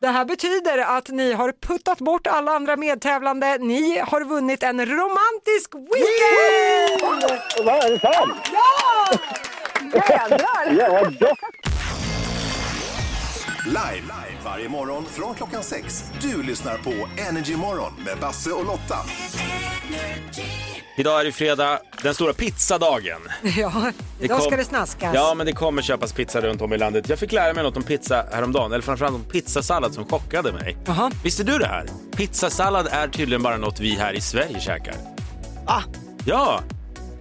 [SPEAKER 2] Det här betyder att ni har puttat bort alla andra medtävlande. Ni har vunnit en romantisk weekend!
[SPEAKER 12] Vad är det sant?
[SPEAKER 2] Ja!
[SPEAKER 12] Ja, vad gott.
[SPEAKER 10] Live, live varje morgon från klockan sex. Du lyssnar på Energy Morgon med Basse och Lotta.
[SPEAKER 1] Idag är det fredag, den stora pizzadagen.
[SPEAKER 2] Ja, idag
[SPEAKER 1] kom-
[SPEAKER 2] ska det snaskas.
[SPEAKER 1] Ja, men det kommer köpas pizza runt om i landet. Jag fick lära mig något om pizza häromdagen, eller framförallt om pizzasallad som chockade mig. Visste du det här? Pizzasallad är tydligen bara något vi här i Sverige käkar.
[SPEAKER 2] Ah.
[SPEAKER 1] Ja!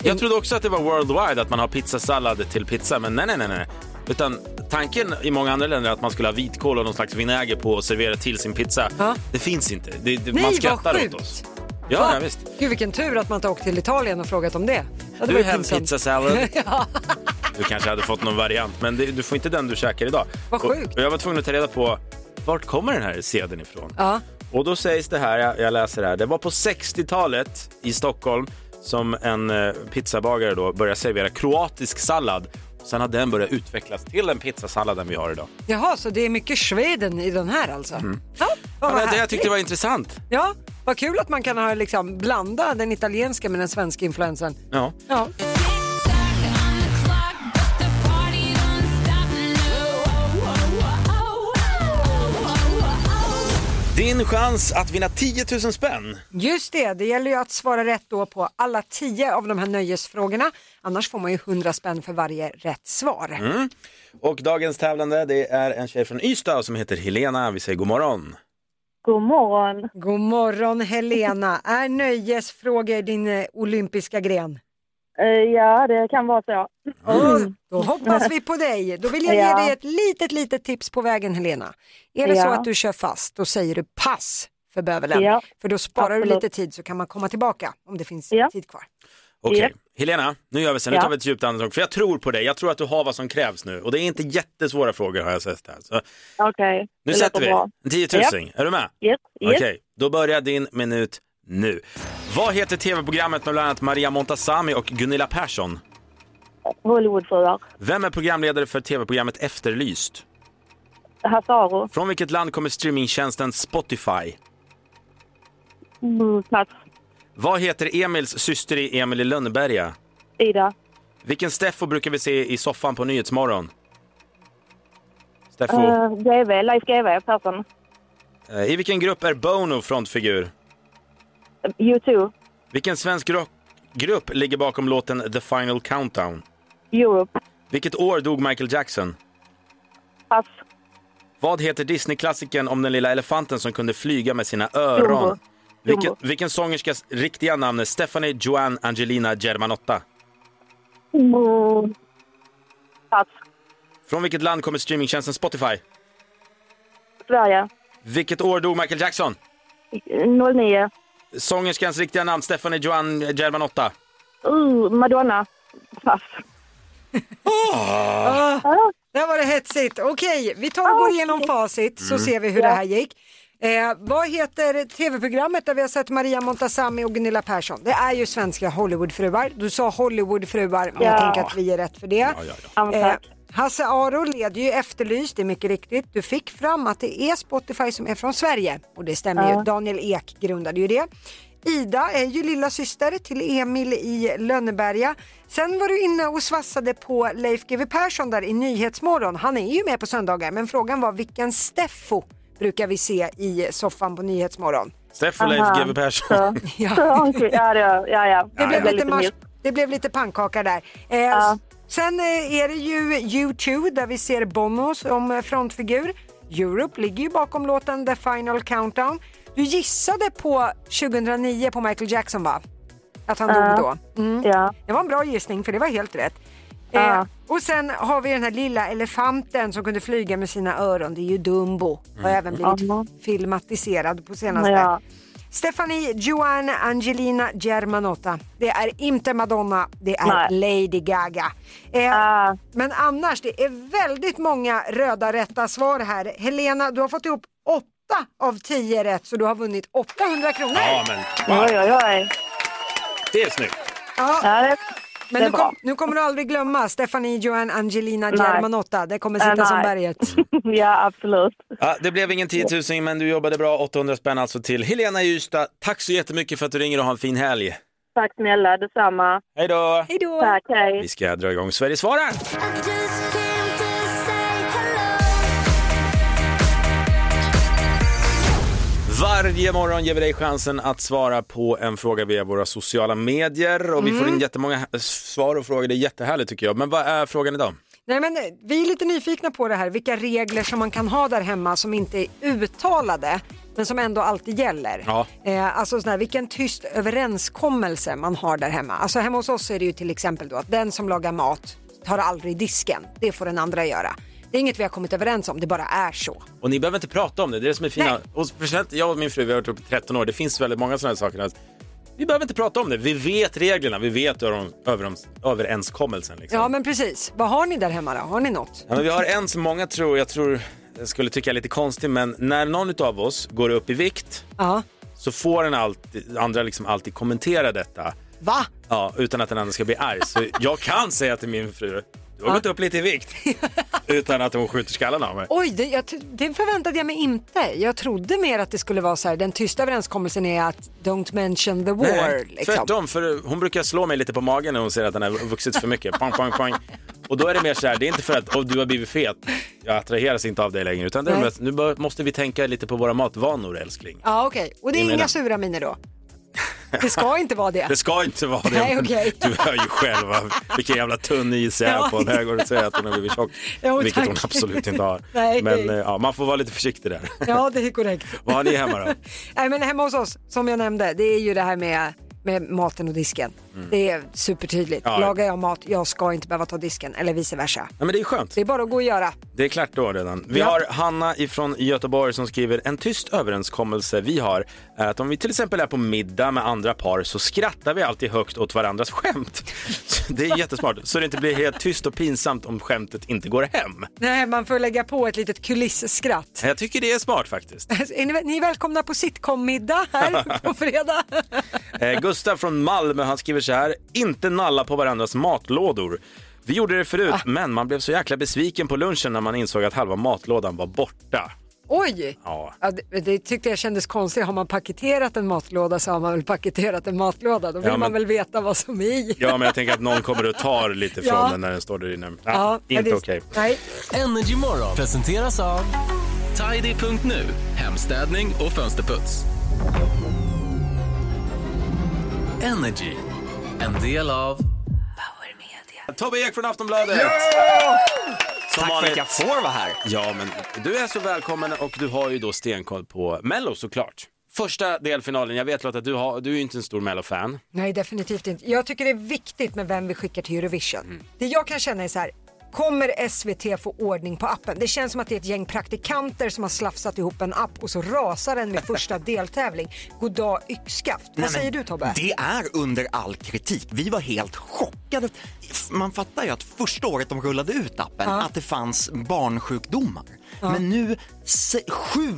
[SPEAKER 1] Jag trodde också att det var worldwide, att man har pizzasallad till pizza, men nej, nej, nej. nej. Utan tanken i många andra länder är att man skulle ha vitkål och någon slags vinäger på och servera till sin pizza. Det finns inte. Det, det,
[SPEAKER 2] Nej,
[SPEAKER 1] man
[SPEAKER 2] vad
[SPEAKER 1] skrattar
[SPEAKER 2] sjukt.
[SPEAKER 1] åt oss. Ja, ja, visst.
[SPEAKER 2] Gud vilken tur att man inte åkt till Italien och frågat om det. Ja,
[SPEAKER 1] Do
[SPEAKER 2] det var
[SPEAKER 1] you
[SPEAKER 2] ju
[SPEAKER 1] have
[SPEAKER 2] pinsamt.
[SPEAKER 1] pizza salad?
[SPEAKER 2] ja.
[SPEAKER 1] Du kanske hade fått någon variant, men det, du får inte den du käkar idag.
[SPEAKER 2] Vad sjukt.
[SPEAKER 1] Och, och jag var tvungen att ta reda på vart kommer den här sedeln ifrån?
[SPEAKER 2] Ja.
[SPEAKER 1] Och då sägs det här, jag, jag läser det här, det var på 60-talet i Stockholm som en eh, pizzabagare då började servera kroatisk sallad. Sen har den börjat utvecklas till den pizzasalladen vi har idag.
[SPEAKER 2] Jaha, så det är mycket Sweden i den här alltså? Ja, vad
[SPEAKER 1] Mm. Ja, men det jag
[SPEAKER 2] härligt.
[SPEAKER 1] tyckte det var intressant.
[SPEAKER 2] Ja, vad kul att man kan ha, liksom, blanda den italienska med den svenska influensen.
[SPEAKER 1] Ja.
[SPEAKER 2] Ja.
[SPEAKER 1] Din chans att vinna 10 000 spänn.
[SPEAKER 2] Just det, det gäller ju att svara rätt då på alla tio av de här nöjesfrågorna. Annars får man ju 100 spänn för varje rätt svar.
[SPEAKER 1] Mm. Och dagens tävlande, det är en tjej från Ystad som heter Helena. Vi säger god morgon.
[SPEAKER 2] God morgon. God morgon Helena. Är nöjesfrågor din eh, olympiska gren?
[SPEAKER 7] Eh, Ja, det kan vara så.
[SPEAKER 1] Mm.
[SPEAKER 2] Och då hoppas vi på dig. Då vill jag
[SPEAKER 7] Ja.
[SPEAKER 2] ge dig ett litet, litet tips på vägen Helena. Är det så
[SPEAKER 7] Ja.
[SPEAKER 2] att du kör fast, då säger du pass för bövelen.
[SPEAKER 7] Ja.
[SPEAKER 2] För då sparar du
[SPEAKER 7] Absolut.
[SPEAKER 2] lite tid så kan man komma tillbaka om det finns tid kvar.
[SPEAKER 1] Okej,
[SPEAKER 2] Ja.
[SPEAKER 1] Helena, nu gör vi så här. Nu
[SPEAKER 2] Ja.
[SPEAKER 1] tar vi ett djupt andetag, för jag tror på dig. Jag tror att du har vad som krävs nu. Och det är inte jättesvåra frågor har jag sett här. Så
[SPEAKER 7] Okej.
[SPEAKER 1] nu
[SPEAKER 7] det
[SPEAKER 1] sätter
[SPEAKER 7] låter
[SPEAKER 1] vi
[SPEAKER 7] bra.
[SPEAKER 1] en 10 000. Är du med?
[SPEAKER 7] Yes, yes.
[SPEAKER 1] Okej, då börjar din minut nu. Vad heter tv-programmet med bland annat Maria Montazami och Gunilla Persson?
[SPEAKER 7] Hollywoodfruar.
[SPEAKER 1] Vem är programledare för tv-programmet Efterlyst?
[SPEAKER 7] Hasaro.
[SPEAKER 1] Från vilket land kommer streamingtjänsten Spotify?
[SPEAKER 7] Mm, Plats.
[SPEAKER 1] Vad heter Emils syster i Emil i Lönneberga?
[SPEAKER 7] Ida.
[SPEAKER 1] Vilken Steffo brukar vi se i soffan på Nyhetsmorgon? Steffo.
[SPEAKER 7] Uh, GV. Leif GV. Persson.
[SPEAKER 1] Eh, I vilken grupp är Bono frontfigur?
[SPEAKER 7] U2.
[SPEAKER 1] Vilken svensk rockgrupp ligger bakom låten The Final Countdown?
[SPEAKER 7] Europe.
[SPEAKER 1] Vilket år dog Michael Jackson?
[SPEAKER 7] Pass.
[SPEAKER 1] Vad heter Disney-klassikern om den lilla elefanten som kunde flyga med sina öron?
[SPEAKER 7] Dumbo.
[SPEAKER 1] Vilken, vilken sångerskas riktiga namn är Stephanie Joanne Angelina Germanotta?
[SPEAKER 7] Mm. Pass.
[SPEAKER 1] Från vilket land kommer streamingtjänsten Spotify?
[SPEAKER 7] Sverige.
[SPEAKER 1] Vilket år dog Michael Jackson?
[SPEAKER 7] 09.
[SPEAKER 1] Sångerskans riktiga namn Stephanie Joanne Germanotta.
[SPEAKER 7] Uh, Madonna. Pass.
[SPEAKER 2] Ah, där var det hetsigt. Okej, vi tar och går igenom facit så
[SPEAKER 1] Mm.
[SPEAKER 2] ser vi hur det här gick. Eh, vad heter tv-programmet där vi har sett Maria Montazami och Gunilla Persson? Det är ju svenska Hollywoodfruar. Du sa Hollywoodfruar, men
[SPEAKER 7] Ja.
[SPEAKER 2] jag tänker att vi är rätt för det. Eh, Hasse Aro leder ju Efterlyst, det är mycket riktigt. Du fick fram att det är Spotify som är från Sverige och det stämmer
[SPEAKER 7] Ja.
[SPEAKER 2] ju. Daniel Ek grundade ju det. Ida är ju lilla syster till Emil i Lönneberga. Sen var du inne och svassade på Leif GW Persson där i Nyhetsmorgon. Han är ju med på söndagar, men frågan var vilken Steffo brukar vi se i soffan på Nyhetsmorgon?
[SPEAKER 1] Steffo Leif
[SPEAKER 2] Aha.
[SPEAKER 1] GW Persson.
[SPEAKER 2] Ja, ja, ja, ja. Det,
[SPEAKER 1] Ja,
[SPEAKER 2] blev
[SPEAKER 1] ja.
[SPEAKER 2] lite
[SPEAKER 1] Lite
[SPEAKER 2] mars,
[SPEAKER 1] mjukt.
[SPEAKER 2] det blev lite pannkaka där. Eh, Sen eh, är det ju U2 där vi ser Bono som eh, frontfigur. Europe ligger ju bakom låten The Final Countdown. Du gissade på 2009 på Michael Jackson va? Att han
[SPEAKER 7] Ja.
[SPEAKER 2] dog då. Mm. Det var en bra gissning för det var helt rätt. Eh,
[SPEAKER 7] Ja.
[SPEAKER 2] och sen har vi den här lilla elefanten som kunde flyga med sina öron. Det är ju Dumbo. Har
[SPEAKER 7] Mm.
[SPEAKER 2] även blivit filmatiserad på senaste.
[SPEAKER 7] Ja.
[SPEAKER 2] Stephanie Joanne Angelina Germanotta. Det är inte Madonna, det är Lady Gaga. Eh,
[SPEAKER 7] Ah.
[SPEAKER 2] Men annars, det är väldigt många röda rätta svar här. Helena, du har fått ihop åtta av tio rätt så du har vunnit 800 kronor.
[SPEAKER 1] Ja, men wow.
[SPEAKER 7] oj, oj.
[SPEAKER 1] Det är snyggt.
[SPEAKER 2] Ja. men
[SPEAKER 7] det är
[SPEAKER 2] nu, kom, nu kommer du aldrig glömma Stephanie Joanne Angelina
[SPEAKER 7] Nej.
[SPEAKER 2] Germanotta. Det kommer sitta
[SPEAKER 7] Eh, nej.
[SPEAKER 2] som berget.
[SPEAKER 7] ja, absolut.
[SPEAKER 1] Ja, det blev ingen 10 000 men du jobbade bra. 800 spänn alltså till Helena i Ystad. Tack så jättemycket för att du ringer och ha en fin helg.
[SPEAKER 7] Tack snälla, detsamma.
[SPEAKER 1] Hej då!
[SPEAKER 2] Hej då.
[SPEAKER 7] Tack, hej.
[SPEAKER 1] Vi ska dra igång Sverige svarar. Varje morgon ger vi dig chansen att svara på en fråga via våra sociala medier och vi får in jättemånga svar och frågor. Det är jättehärligt tycker jag. Men vad är frågan idag?
[SPEAKER 2] Nej, men eh, vi är lite nyfikna på det här, vilka regler som man kan ha där hemma som inte är uttalade men som ändå alltid gäller.
[SPEAKER 1] Ja.
[SPEAKER 2] Eh, alltså sån här, vilken tyst överenskommelse man har där hemma. Alltså hemma hos oss är det ju till exempel då att den som lagar mat tar aldrig disken, det får den andra göra. Det är inget vi har kommit överens om, det bara är så.
[SPEAKER 1] Och ni behöver inte prata om det, det är det som är fina.
[SPEAKER 2] Nej.
[SPEAKER 1] Och speciellt jag och min fru, vi har varit ihop i 13 år, det finns väldigt många sådana här saker. Att vi behöver inte prata om det, vi vet reglerna, vi vet över, över, överenskommelsen. Liksom.
[SPEAKER 2] Ja men precis, vad har ni där hemma då? Har ni något?
[SPEAKER 1] Ja, men vi har en som många tror, jag tror jag skulle tycka är lite konstig, men när någon av oss går upp i vikt
[SPEAKER 2] Ja.
[SPEAKER 1] så får den alltid, andra liksom alltid kommentera detta.
[SPEAKER 2] Va?
[SPEAKER 1] Ja, utan att den andra ska bli arg. Så jag kan säga till min fru, du har gått upp lite i vikt. Utan att hon skjuter skallen av mig.
[SPEAKER 2] Oj, det, jag, t- det förväntade jag mig inte. Jag trodde mer att det skulle vara så här, den tysta överenskommelsen är att don't mention the war. liksom.
[SPEAKER 1] tvärtom, för hon brukar slå mig lite på magen när hon ser att den har vuxit för mycket. Pang, pang, pang. Och då är det mer så här, det är inte för att oh, du har blivit fet, jag attraheras inte av dig längre. Utan det är
[SPEAKER 2] Nej.
[SPEAKER 1] mer att nu bör, måste vi tänka lite på våra matvanor älskling.
[SPEAKER 2] Ja, okej. Och det
[SPEAKER 1] Jag
[SPEAKER 2] är
[SPEAKER 1] menar-
[SPEAKER 2] inga sura miner då? Det ska inte vara det.
[SPEAKER 1] Det ska inte vara det.
[SPEAKER 2] Nej, okej.
[SPEAKER 1] Du hör ju själv va? vilken jävla tunn is jag är
[SPEAKER 2] Ja.
[SPEAKER 1] på när jag går och säger att hon har blivit tjock.
[SPEAKER 2] Jo,
[SPEAKER 1] vilket
[SPEAKER 2] tack.
[SPEAKER 1] hon absolut inte har.
[SPEAKER 2] Nej.
[SPEAKER 1] Men eh, ja, man får vara lite försiktig där.
[SPEAKER 2] Ja, det är korrekt.
[SPEAKER 1] Vad har ni hemma då?
[SPEAKER 2] Nej, men hemma hos oss, som jag nämnde, det är ju det här med, med maten och disken. Det är supertydligt.
[SPEAKER 1] Mm. Ja.
[SPEAKER 2] Lagar jag mat, jag ska inte behöva ta disken eller vice versa.
[SPEAKER 1] Ja, men det är skönt.
[SPEAKER 2] Det är bara att gå och göra.
[SPEAKER 1] Det är klart då redan. Vi har Hanna ifrån Göteborg som skriver en tyst överenskommelse vi har är att om vi till exempel är på middag med andra par så skrattar vi alltid högt åt varandras skämt. Så Det är jättesmart, så det inte blir helt tyst och pinsamt om skämtet inte går hem.
[SPEAKER 2] Nej, man får lägga på ett litet kulisskratt.
[SPEAKER 1] Jag tycker det är smart faktiskt.
[SPEAKER 2] Alltså, är ni, ni är välkomna på sitcom-middag här på fredag.
[SPEAKER 1] Eh, Gustav från Malmö han skriver så här. Inte nalla på varandras matlådor. Vi gjorde det förut, men man blev så jäkla besviken på lunchen när man insåg att halva matlådan var borta.
[SPEAKER 2] Oj!
[SPEAKER 1] Ja.
[SPEAKER 2] Ja, det, det tyckte jag kändes konstigt. Har man paketerat en matlåda så har man väl paketerat en matlåda. Då vill
[SPEAKER 1] Ja, men-
[SPEAKER 2] man väl veta vad som är i.
[SPEAKER 1] Ja, men jag tänker att någon kommer och tar lite från
[SPEAKER 2] Ja.
[SPEAKER 1] den när den står där inne. Ah,
[SPEAKER 2] Ja,
[SPEAKER 1] inte
[SPEAKER 2] det-
[SPEAKER 1] okej.
[SPEAKER 2] Nej.
[SPEAKER 4] Energy Morgon presenteras av Tidy.nu, hemstädning och fönsterputs. Energy, en del av
[SPEAKER 1] Tobbe Ek från Aftonbladet! Som
[SPEAKER 14] Tack för att jag får vara här.
[SPEAKER 1] Ja, men du är så välkommen och du har ju då stenkoll på Mello såklart. Första delfinalen, jag vet Lotta, du, har, du är ju inte en stor Mello-fan.
[SPEAKER 2] Nej, definitivt inte. Jag tycker det är viktigt med vem vi skickar till Eurovision. Det jag kan känna är så här, kommer SVT få ordning på appen? Det känns som att det är ett gäng praktikanter som har slafsat ihop en app och så rasar den med första deltävling. Goddag yxskaft.
[SPEAKER 14] Nej,
[SPEAKER 2] Vad
[SPEAKER 14] men
[SPEAKER 2] säger du Tobbe?
[SPEAKER 14] Det är under all kritik. Vi var helt chockade. Man fattar ju att första året de rullade ut appen att det fanns barnsjukdomar. Men nu, se, sju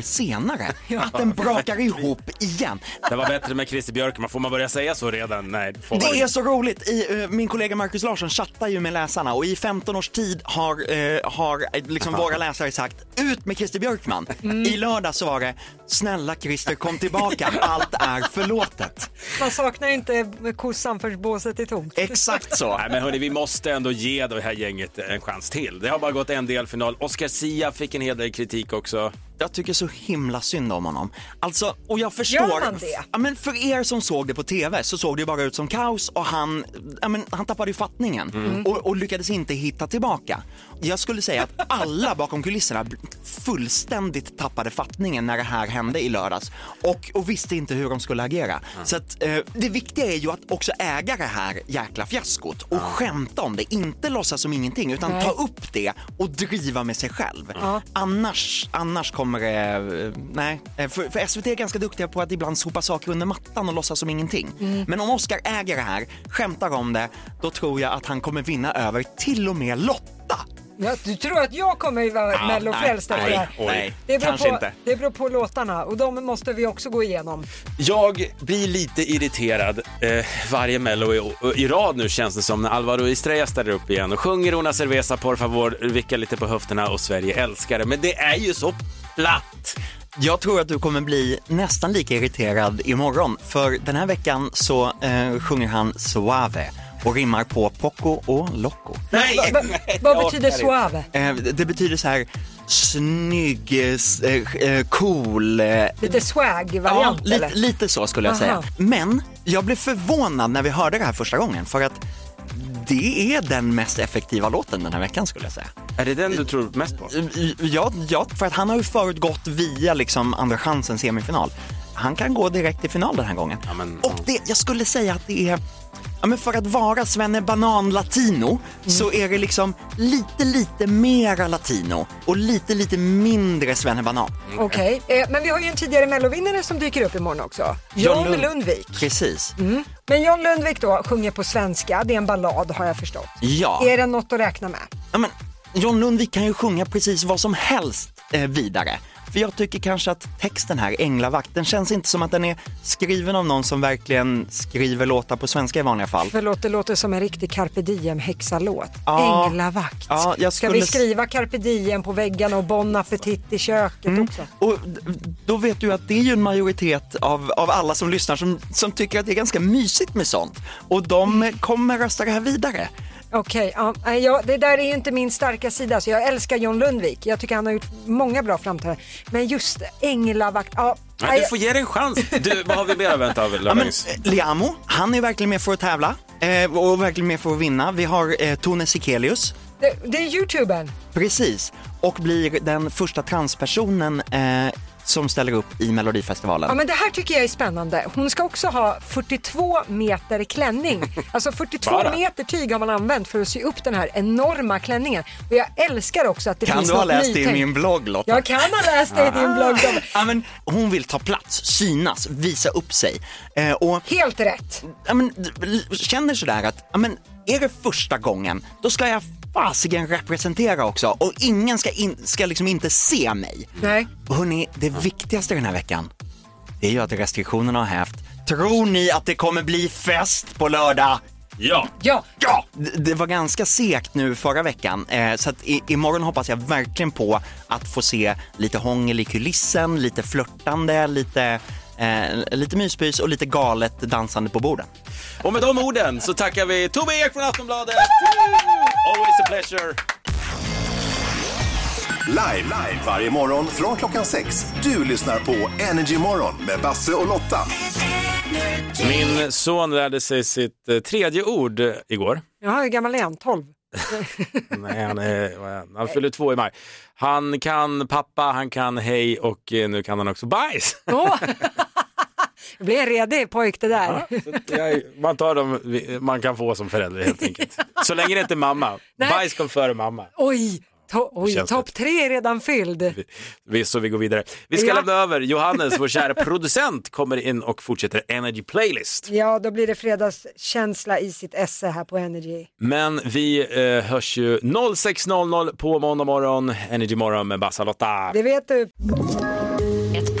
[SPEAKER 14] senare, att den brakar ihop igen.
[SPEAKER 1] Det var bättre med Christer Björkman, får man börja säga så redan? Nej, det får man
[SPEAKER 14] Det
[SPEAKER 1] inte.
[SPEAKER 14] är så roligt. I, eh, min kollega Markus Larsson chattar ju med läsarna och i 15 års tid har, eh, har eh, liksom våra läsare sagt ut med Christer Björkman.
[SPEAKER 2] Mm.
[SPEAKER 14] I lördag så var det snälla Christer kom tillbaka, allt är förlåtet.
[SPEAKER 2] Man saknar inte kossan förrän båset är tomt.
[SPEAKER 14] Eh. Exakt så.
[SPEAKER 1] Nej, men hörni, vi måste ändå ge det här gänget en chans till. Det har bara gått en delfinal. Oscar Sia fick en hel del kritik också.
[SPEAKER 14] Jag tycker så himla synd om honom. Alltså, och jag förstår.
[SPEAKER 1] Gör man det?
[SPEAKER 14] Ja, men för er som såg det på TV så såg det ju bara ut som kaos och han, ja, men han tappade ju fattningen
[SPEAKER 12] Mm.
[SPEAKER 14] och, och lyckades inte hitta tillbaka. Jag skulle säga att alla bakom kulisserna fullständigt tappade fattningen när det här hände i lördags och, och visste inte hur de skulle agera.
[SPEAKER 1] Mm.
[SPEAKER 14] Så att, eh, det viktiga är ju att också äga det här jäkla fiaskot och skämta om det, inte låtsas som ingenting utan
[SPEAKER 12] Nej.
[SPEAKER 14] ta upp det och driva med sig själv.
[SPEAKER 12] Ja.
[SPEAKER 14] Annars, annars kommer det... eh, Nej. Eh, För, för SVT är ganska duktiga på att ibland sopa saker under mattan och låtsas som ingenting.
[SPEAKER 12] Mm.
[SPEAKER 14] Men om Oscar äger det här, skämtar om det, då tror jag att han kommer vinna över till och med Lotta.
[SPEAKER 2] Ja, du tror att jag kommer vara
[SPEAKER 14] Ah,
[SPEAKER 2] mellofrälst
[SPEAKER 14] nej,
[SPEAKER 2] efter det här?
[SPEAKER 14] nej, nej.
[SPEAKER 2] det beror
[SPEAKER 14] Kanske
[SPEAKER 2] på,
[SPEAKER 1] inte.
[SPEAKER 2] Det beror på låtarna och de måste vi också gå igenom.
[SPEAKER 1] Jag blir lite irriterad eh, varje mello i, i rad nu känns det som när Alvaro Estrella ställer upp igen och sjunger Una Cerveza por favor, vickar lite på höfterna och Sverige älskar det. Men det är ju så platt!
[SPEAKER 14] Jag tror att du kommer bli nästan lika irriterad imorgon, för den här veckan så eh, sjunger han Suave och rimmar på Poco och Loco.
[SPEAKER 2] Nej, vad betyder suave?
[SPEAKER 14] Eh, det betyder så här snygg, eh, s- eh, eh, cool, eh,
[SPEAKER 2] Lite swag-variant
[SPEAKER 14] Ja, lite,
[SPEAKER 2] eller?
[SPEAKER 14] lite så skulle jag
[SPEAKER 2] Aha.
[SPEAKER 14] säga. Men jag blev förvånad när vi hörde det här första gången för att det är den mest effektiva låten den här veckan skulle jag säga.
[SPEAKER 1] Är det den du tror mest på?
[SPEAKER 14] Eh, Ja, ja för att han har ju förut gått via liksom Andra chansens semifinal. Han kan gå direkt till final den här gången. Och det, jag skulle säga att det är, ja, men för att vara Svenne Banan-latino så är det liksom lite, lite mera latino och lite, lite mindre Svenne Banan.
[SPEAKER 2] Okej, eh, men vi har ju en tidigare mellovinnare som dyker upp imorgon också. John
[SPEAKER 14] Lund-
[SPEAKER 2] Lundvik.
[SPEAKER 14] Precis.
[SPEAKER 2] Mm. Men John Lundvik då sjunger på svenska, det är en ballad har jag förstått.
[SPEAKER 14] Ja.
[SPEAKER 2] Är det något att räkna med?
[SPEAKER 14] Ja, men, John Lundvik kan ju sjunga precis vad som helst eh, vidare. För jag tycker kanske att texten här, Änglavakt, den känns inte som att den är skriven av någon som verkligen skriver låtar på svenska i vanliga fall.
[SPEAKER 2] Förlåt, det låter som en riktig carpe diem-häxalåt.
[SPEAKER 14] Ja.
[SPEAKER 2] Änglavakt.
[SPEAKER 14] Ja, jag
[SPEAKER 2] Ska
[SPEAKER 14] skulle
[SPEAKER 2] vi
[SPEAKER 14] s-
[SPEAKER 2] skriva carpe diem på väggarna och bon appetit i köket
[SPEAKER 14] Mm.
[SPEAKER 2] också?
[SPEAKER 14] Och d- då vet du att det är ju en majoritet av, av alla som lyssnar som, som tycker att det är ganska mysigt med sånt. Och de eh, kommer rösta det här vidare.
[SPEAKER 2] Okej, ja, nej, ja, det där är ju inte min starka sida så jag älskar John Lundvik. Jag tycker han har gjort många bra framträdanden. Men just änglavakt, ja.
[SPEAKER 1] Nej, du får ge det en chans. Du, vad har vi mer att vänta av
[SPEAKER 14] Ja, men,
[SPEAKER 1] Lövängs?
[SPEAKER 14] eh, Liamo, han är verkligen med för att tävla eh, och verkligen med för att vinna. Vi har eh, Tone Sekelius.
[SPEAKER 2] Det, det är youtubern.
[SPEAKER 14] Precis, och blir den första transpersonen eh, som ställer upp i Melodifestivalen.
[SPEAKER 2] Ja, men det här tycker jag är spännande. Hon ska också ha 42 meter klänning. Alltså 42
[SPEAKER 14] Bara.
[SPEAKER 2] meter tyg har man använt för att sy upp den här enorma klänningen. Och jag älskar också att det
[SPEAKER 14] Kan
[SPEAKER 2] finns
[SPEAKER 14] du ha
[SPEAKER 2] något
[SPEAKER 14] läst det i
[SPEAKER 2] nytänk.
[SPEAKER 14] min Ah. blogg Lotta?
[SPEAKER 2] Jag kan ha läst det i din blogg. Tobbe.
[SPEAKER 14] ja, men, hon vill ta plats, synas, visa upp sig. Eh, och,
[SPEAKER 2] Helt rätt.
[SPEAKER 14] Ja, men, d- l- känner sådär att, ja, men, är det första gången, då ska jag fasiken representera också och ingen ska, in, ska liksom inte se mig.
[SPEAKER 2] Nej.
[SPEAKER 14] Hörrni, det viktigaste den här veckan, det är ju att restriktionerna har hävt. Tror ni att det kommer bli fest på lördag?
[SPEAKER 1] Ja!
[SPEAKER 2] Ja!
[SPEAKER 14] ja. D- Det var ganska segt nu förra veckan, eh, så att i, imorgon hoppas jag verkligen på att få se lite hångel i kulissen, lite flörtande, lite, eh, lite myspys och lite galet dansande på borden.
[SPEAKER 1] Och med de orden så tackar vi Tobbe Ek från Aftonbladet! Always a pleasure!
[SPEAKER 10] Live, live varje morgon från klockan sex. Du lyssnar på Energy Morgon med Basse och Lotta.
[SPEAKER 1] Min son lärde sig sitt eh, tredje ord eh, igår.
[SPEAKER 2] Jaha, hur gammal är han? 12?
[SPEAKER 1] Nej, han, är, vad är han? han fyller två i maj. Han kan pappa, han kan hej och eh, nu kan han också bajs.
[SPEAKER 2] Åh! Det blir en redig pojk det där.
[SPEAKER 1] Jag, man tar dem vi- man kan få som förälder helt enkelt. Så länge det inte är mamma. Bajs kom före mamma.
[SPEAKER 2] Oj, to- oj
[SPEAKER 1] Känns
[SPEAKER 2] topp tre är redan fylld.
[SPEAKER 1] Vi, så vi går vidare. Vi ska
[SPEAKER 2] Ja.
[SPEAKER 1] lämna över. Johannes, vår kära producent, kommer in och fortsätter Energy Playlist.
[SPEAKER 2] Ja, då blir det fredagskänsla i sitt esse här på Energy.
[SPEAKER 1] Men vi eh, hörs ju 06.00 på måndag morgon, Energy morgon med Bassa-Lotta.
[SPEAKER 2] Det vet du.
[SPEAKER 15] Ett